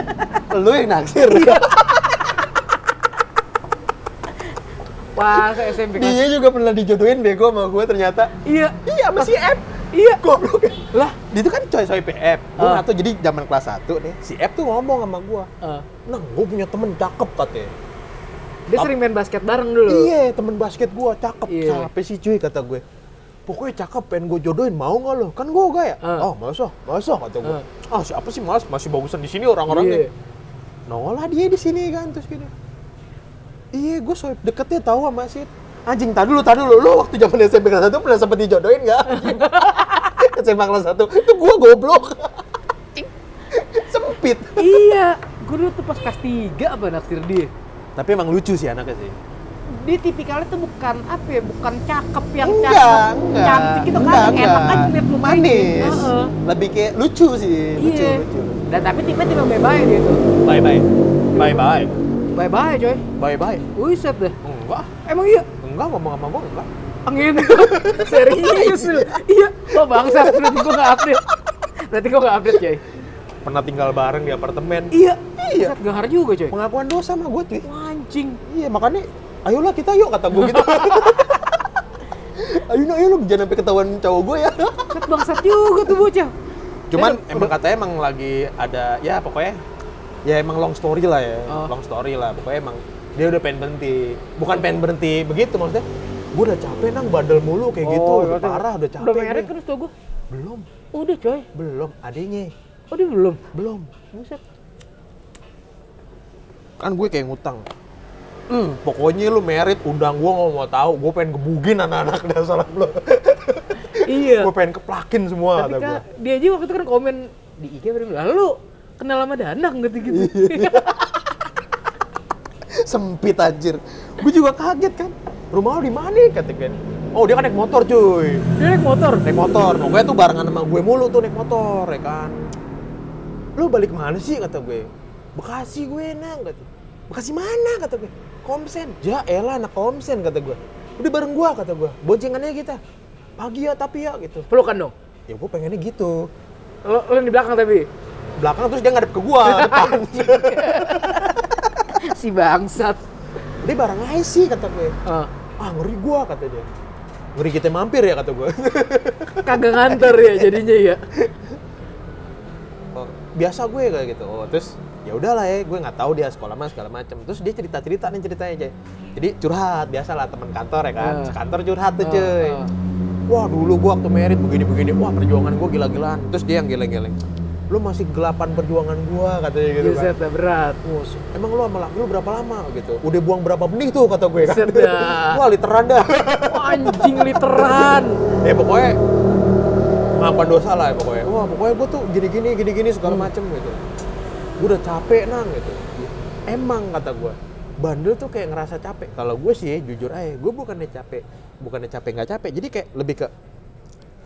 S3: Lu yang naksir,
S2: Iya, pas SMP kelas-
S3: dia juga pernah dijodohin bego sama gue ternyata.
S2: iya
S3: Iya, sama si F.
S2: iya
S3: Goblok.
S2: lah
S3: Dia tuh kan coy coy PF. Gue
S2: Ah.
S3: nggak tahu jadi zaman kelas 1 nih. Si F tuh ngomong sama gua.
S2: eh,
S3: Nang, gua punya temen cakep katanya.
S2: dia sering main basket bareng dulu
S3: Iya, temen basket gua cakep.
S2: Iya.
S3: Siapa sih cuy kata gue. Pokoknya cakep pengen gue jodohin mau nggak lo? Kan gua gaya.
S2: Ah.
S3: Oh, masa? Masa kata gue. Ah,
S2: Ah.
S3: siapa sih malas masih bagusan di sini orang-orangnya.
S2: Iya.
S3: Nol lah dia di sini kan terus gini. Iya, gue swipe deketnya tahu sama si Anjing, tadi dulu, tadi dulu. Lo waktu zaman SMP kelas 1 pernah sempet dijodohin nggak? anjing? SMP kelas 1. Itu gua goblok. Sempit.
S2: iya gue dulu tuh pas kelas 3 apa naksir dia
S3: Tapi emang lucu sih anaknya sih.
S2: dia tipikalnya tuh bukan apa ya bukan cakep yang
S3: enggak,
S2: cakep
S3: enggak.
S2: cantik gitu kan
S3: Enggak,
S2: enak
S3: enggak.
S2: aja liat mukanya
S3: Manis.
S2: Heeh.
S3: Lebih kayak lucu sih, lucu,
S2: iya
S3: lucu.
S2: dan tapi tipe tipe bye bye dia tuh
S3: Bye bye. Bye bye.
S2: bye bye coy
S3: Bye bye.
S2: Wih, set deh
S3: Enggak.
S2: emang iya
S3: enggak ngomong sama gue enggak
S2: Angin serius lu. Iya, kok bangsa berarti gua enggak update. Berarti gua enggak update, coy.
S3: pernah tinggal bareng di apartemen
S2: Iya.
S3: Iya.
S2: Iya. Gahar juga, coy.
S3: pengakuan dosa sama gue cuy
S2: Anjing.
S3: iya makanya ayolah kita yuk kata gue gitu ayo ayo lu jangan sampai ketahuan cowok gue ya
S2: Set bangsat juga tuh bocah.
S3: cuman
S2: Eh,
S3: emang katanya emang lagi ada ya pokoknya ya emang long story lah ya
S2: Oh.
S3: long story lah pokoknya emang dia udah pengen berhenti bukan pengen berhenti begitu maksudnya gue udah capek nang bandel mulu kayak gitu udah parah udah capek
S2: Oh, Udah
S3: gue.
S2: merit kan setau gua.
S3: belum
S2: Udah, coy.
S3: belum adanya
S2: Oh, dia belum.
S3: belum
S2: Buset.
S3: kan gue kayak ngutang Hmm, pokoknya lu merit undang gue nggak mau tahu gue pengen gebugin anak-anak dasar lu
S2: Iya.
S3: gue pengen keplakin semua
S2: Tapi
S3: kata
S2: kan
S3: gue
S2: dia aja waktu itu kan komen di IG berarti lalu kenal sama Danang Gitu, gitu-gitu.
S3: Iya. sempit anjir gue juga kaget kan rumah lu di mana kata gue oh dia kan naik motor cuy
S2: Dia naik motor.
S3: naik motor pokoknya tuh barengan sama gue mulu tuh naik motor ya kan lu balik mana sih kata gue Bekasi gue nang kata Bekasi mana kata gue Komsen ja elah anak Komsen kata gue udah bareng gue kata gue boncengannya kita pagi ya tapi ya gitu
S2: Pelukan dong.
S3: ya gue pengennya gitu
S2: Lo, lo yang di belakang tapi.
S3: belakang terus dia ngadep ke gue depan
S2: si bangsat.
S3: dia bareng aja sih kata gue
S2: Ah,
S3: ah ngeri gue kata dia ngeri kita mampir ya kata gue
S2: kagak nganter ya jadinya ya.
S3: Oh, biasa gue kayak gitu oh, terus ya udahlah ya gue nggak tahu dia sekolah mana segala macam terus dia cerita cerita nih ceritanya aja jadi curhat biasalah teman kantor ya kan
S2: Ah.
S3: sekantor curhat tuh
S2: Ah,
S3: cuy
S2: ah.
S3: wah dulu gue waktu merit begini begini wah perjuangan gue gila gilaan terus dia yang geleng geleng lu masih gelapan perjuangan gue katanya gitu kan
S2: Buset dah, berat.
S3: Wah, se- emang lu sama laki lu berapa lama gitu udah buang berapa benih tuh kata gue kan
S2: Buset dah.
S3: wah literan dah
S2: Wah, anjing literan.
S3: ya pokoknya ngapain dosa lah ya pokoknya wah pokoknya gue tuh gini gini gini gini segala macem gitu gue udah capek nang gitu emang kata gue bandel tuh kayak ngerasa capek kalau gue sih jujur aja gue bukannya capek bukannya capek nggak capek jadi kayak lebih ke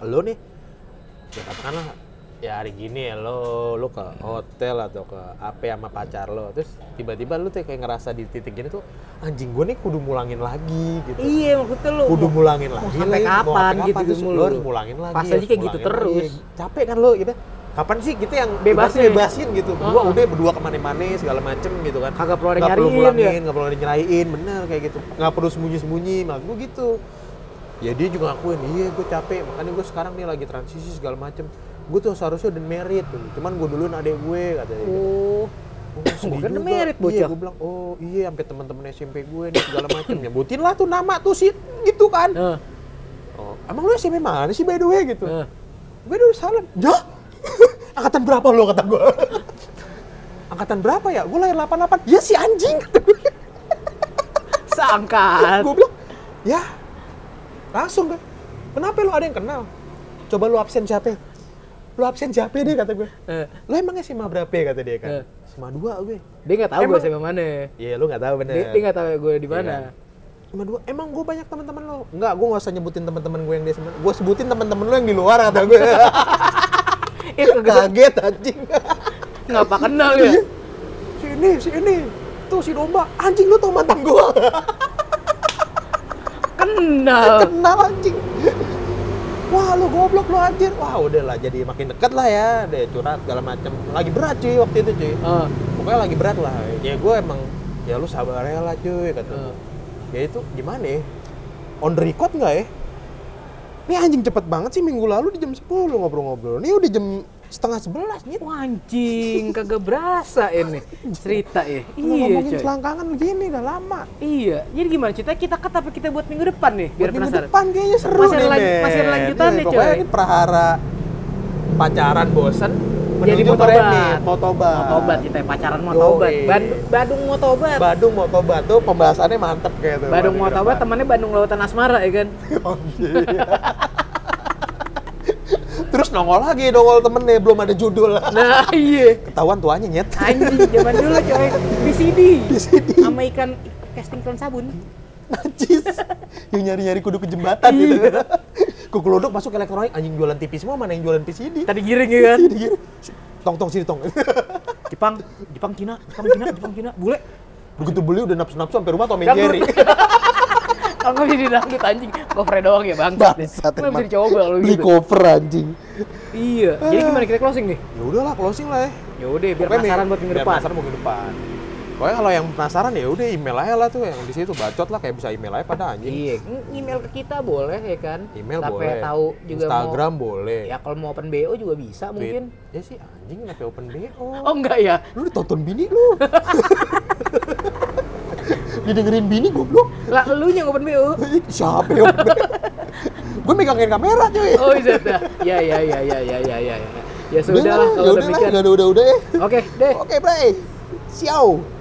S3: lo nih ya katakanlah ya hari gini ya lo lo ke hotel atau ke apa sama pacar lo terus tiba-tiba lo tuh kayak ngerasa di titik gini tuh anjing gue nih kudu mulangin lagi gitu
S2: iya maksudnya lo.
S3: kudu mulangin
S2: mau
S3: lagi
S2: sampai
S3: lagi,
S2: kapan
S3: sampai
S2: gitu
S3: terus
S2: mulu.
S3: lu harus mulangin lagi
S2: Pas aja
S3: harus
S2: kayak gitu
S3: mulangin
S2: terus.
S3: lagi. capek kan lo gitu kapan sih kita yang
S2: Bebasin.
S3: ibaratnya bebasin gitu gua
S2: Uh-uh.
S3: udah berdua kemana-mana segala macem gitu kan
S2: Kagak perlu ada
S3: Nggak perlu
S2: nyariin ya.
S3: mulangin nggak perlu ada nyerahin bener kayak gitu nggak perlu sembunyi-sembunyi malah gua gitu ya dia juga ngakuin iya gue capek makanya gue sekarang nih lagi transisi segala macem gue tuh seharusnya udah merit gitu. cuman gue duluin adek gue katanya gitu.
S2: Oh.
S3: Oh,
S2: Gua
S3: sedih
S2: kan
S3: juga.
S2: merit,
S3: Iya,
S2: bocah.
S3: gue bilang, oh iya sampai teman-teman SMP gue nih segala macem. Nyebutin lah tuh nama tuh sih, gitu kan.
S2: Nah,
S3: Oh, emang lu SMP mana sih by the way gitu?
S2: nah.
S3: Gue dulu salam. Ya? Angkatan berapa lu kata gue? Angkatan berapa ya? Gue lahir 88. Ya si anjing.
S2: Seangkat.
S3: gue bilang, ya langsung kan. Kenapa lu ada yang kenal? Coba lu absen siapa? Lu absen siapa deh kata gue.
S2: Eh,
S3: Lu emang SMA berapa ya kata dia kan?
S2: Eh.
S3: SMA 2 gue.
S2: dia nggak tahu gue
S3: Emang-
S2: sama mana.
S3: Iya lu gak tahu bener.
S2: Dia, dia nggak tahu gue di mana.
S3: Iya. Cuma dua. Emang gue banyak teman-teman lo. Enggak, gue nggak usah nyebutin teman-teman gue yang di sebelah. Gue sebutin teman-teman lo yang di luar kata gue. Iya,
S2: Eh, kagak
S3: Kaget anjing. Kan.
S2: ngapa kenal ya?
S3: Iya. si ini, si ini. Tuh si domba. Anjing lu tau mantan gue.
S2: Kenal.
S3: Kenal anjing. Wah lu goblok lu anjir. Wah udahlah jadi makin dekat lah ya. Deh curhat segala macam. Lagi berat cuy waktu itu cuy.
S2: Ah,
S3: Pokoknya lagi berat lah. Ya gue emang ya lu sabar aja lah cuy kata gue.
S2: Hmm.
S3: Ya itu gimana ya? On the record nggak ya? Ini anjing cepet banget sih minggu lalu di jam 10 ngobrol-ngobrol. Ini udah jam setengah 11 nih.
S2: Wah, anjing, kagak berasa ini cerita ya. Iya,
S3: ngomongin
S2: coy.
S3: selangkangan begini udah lama.
S2: Iya. Jadi gimana cerita kita ket apa kita buat minggu depan nih? Biar
S3: Buat minggu
S2: penasaran.
S3: depan kayaknya seru
S2: Masih ada
S3: nih,
S2: lan-
S3: men.
S2: masih ada lanjutannya,
S3: Iya, Pokoknya
S2: coy.
S3: ini perhara pacaran bosen
S2: Jadi
S3: menuju
S2: mau
S3: ke
S2: tobat.
S3: remit, mau tobat.
S2: Mau tobat kita ya, pacaran mau
S3: Yoi.
S2: tobat. Band- Badung mau tobat.
S3: Badung mau tobat tuh pembahasannya mantep kayak tuh.
S2: Badung mau
S3: minggu
S2: tobat
S3: depan.
S2: temannya Bandung Lautan Asmara ya kan.
S3: Oh, iya. Terus nongol lagi nongol temennya belum ada judul.
S2: Nah, iya.
S3: Ketahuan tuanya nyet.
S2: Anjing zaman dulu coy. VCD. Sama ikan casting iklan sabun.
S3: Najis. yang nyari-nyari kudu ke jembatan gitu.
S2: Iya.
S3: Kukuluduk masuk elektronik anjing jualan TV semua mana yang jualan PCD.
S2: Tadi giring ya kan.
S3: Jadi gini, Iya, tong tong sini tong.
S2: Jepang, Jepang Cina, Jepang Cina, Jepang Cina. Bule.
S3: Begitu beli udah napsu napsu sampai rumah Tom and
S2: Dangdut.
S3: Jerry.
S2: Kalau Angga bisa dangdut anjing. Cover doang ya bangsat. deh.
S3: Bangsat,
S2: Lu nggak bisa
S3: emang.
S2: dicoba lu
S3: Beli Ah.
S2: gitu.
S3: cover anjing.
S2: Iya. Jadi gimana kita closing nih?
S3: Ya udahlah closing lah ya.
S2: Yaudah, biar
S3: Pokoknya
S2: penasaran
S3: mi-
S2: buat minggu
S3: biar
S2: depan.
S3: Penasaran minggu depan. Pokoknya kalau yang penasaran ya udah email aja lah tuh yang di situ bacot lah kayak bisa email aja pada anjing.
S2: Iya, ng- email ke kita boleh ya kan?
S3: Email
S2: Sampai
S3: boleh.
S2: tahu juga
S3: Instagram
S2: mau
S3: boleh.
S2: ya kalau mau open BO juga bisa
S3: Tweet.
S2: mungkin.
S3: Ya sih anjing kenapa open BO?
S2: Oh enggak ya?
S3: Lu ditonton bini lu. Didengerin bini goblok.
S2: Lah lu yang open BO.
S3: Siapa yang open BO? Gue megangin kamera cuy.
S2: Oh iya. dah. Ya ya ya ya ya ya ya. Ya, ya sudah lah
S3: Udah lah, ya
S2: kalau
S3: udah lah,
S2: demikian.
S3: udah udah udah eh.
S2: Oke, deh.
S3: Oke, bray. Ciao.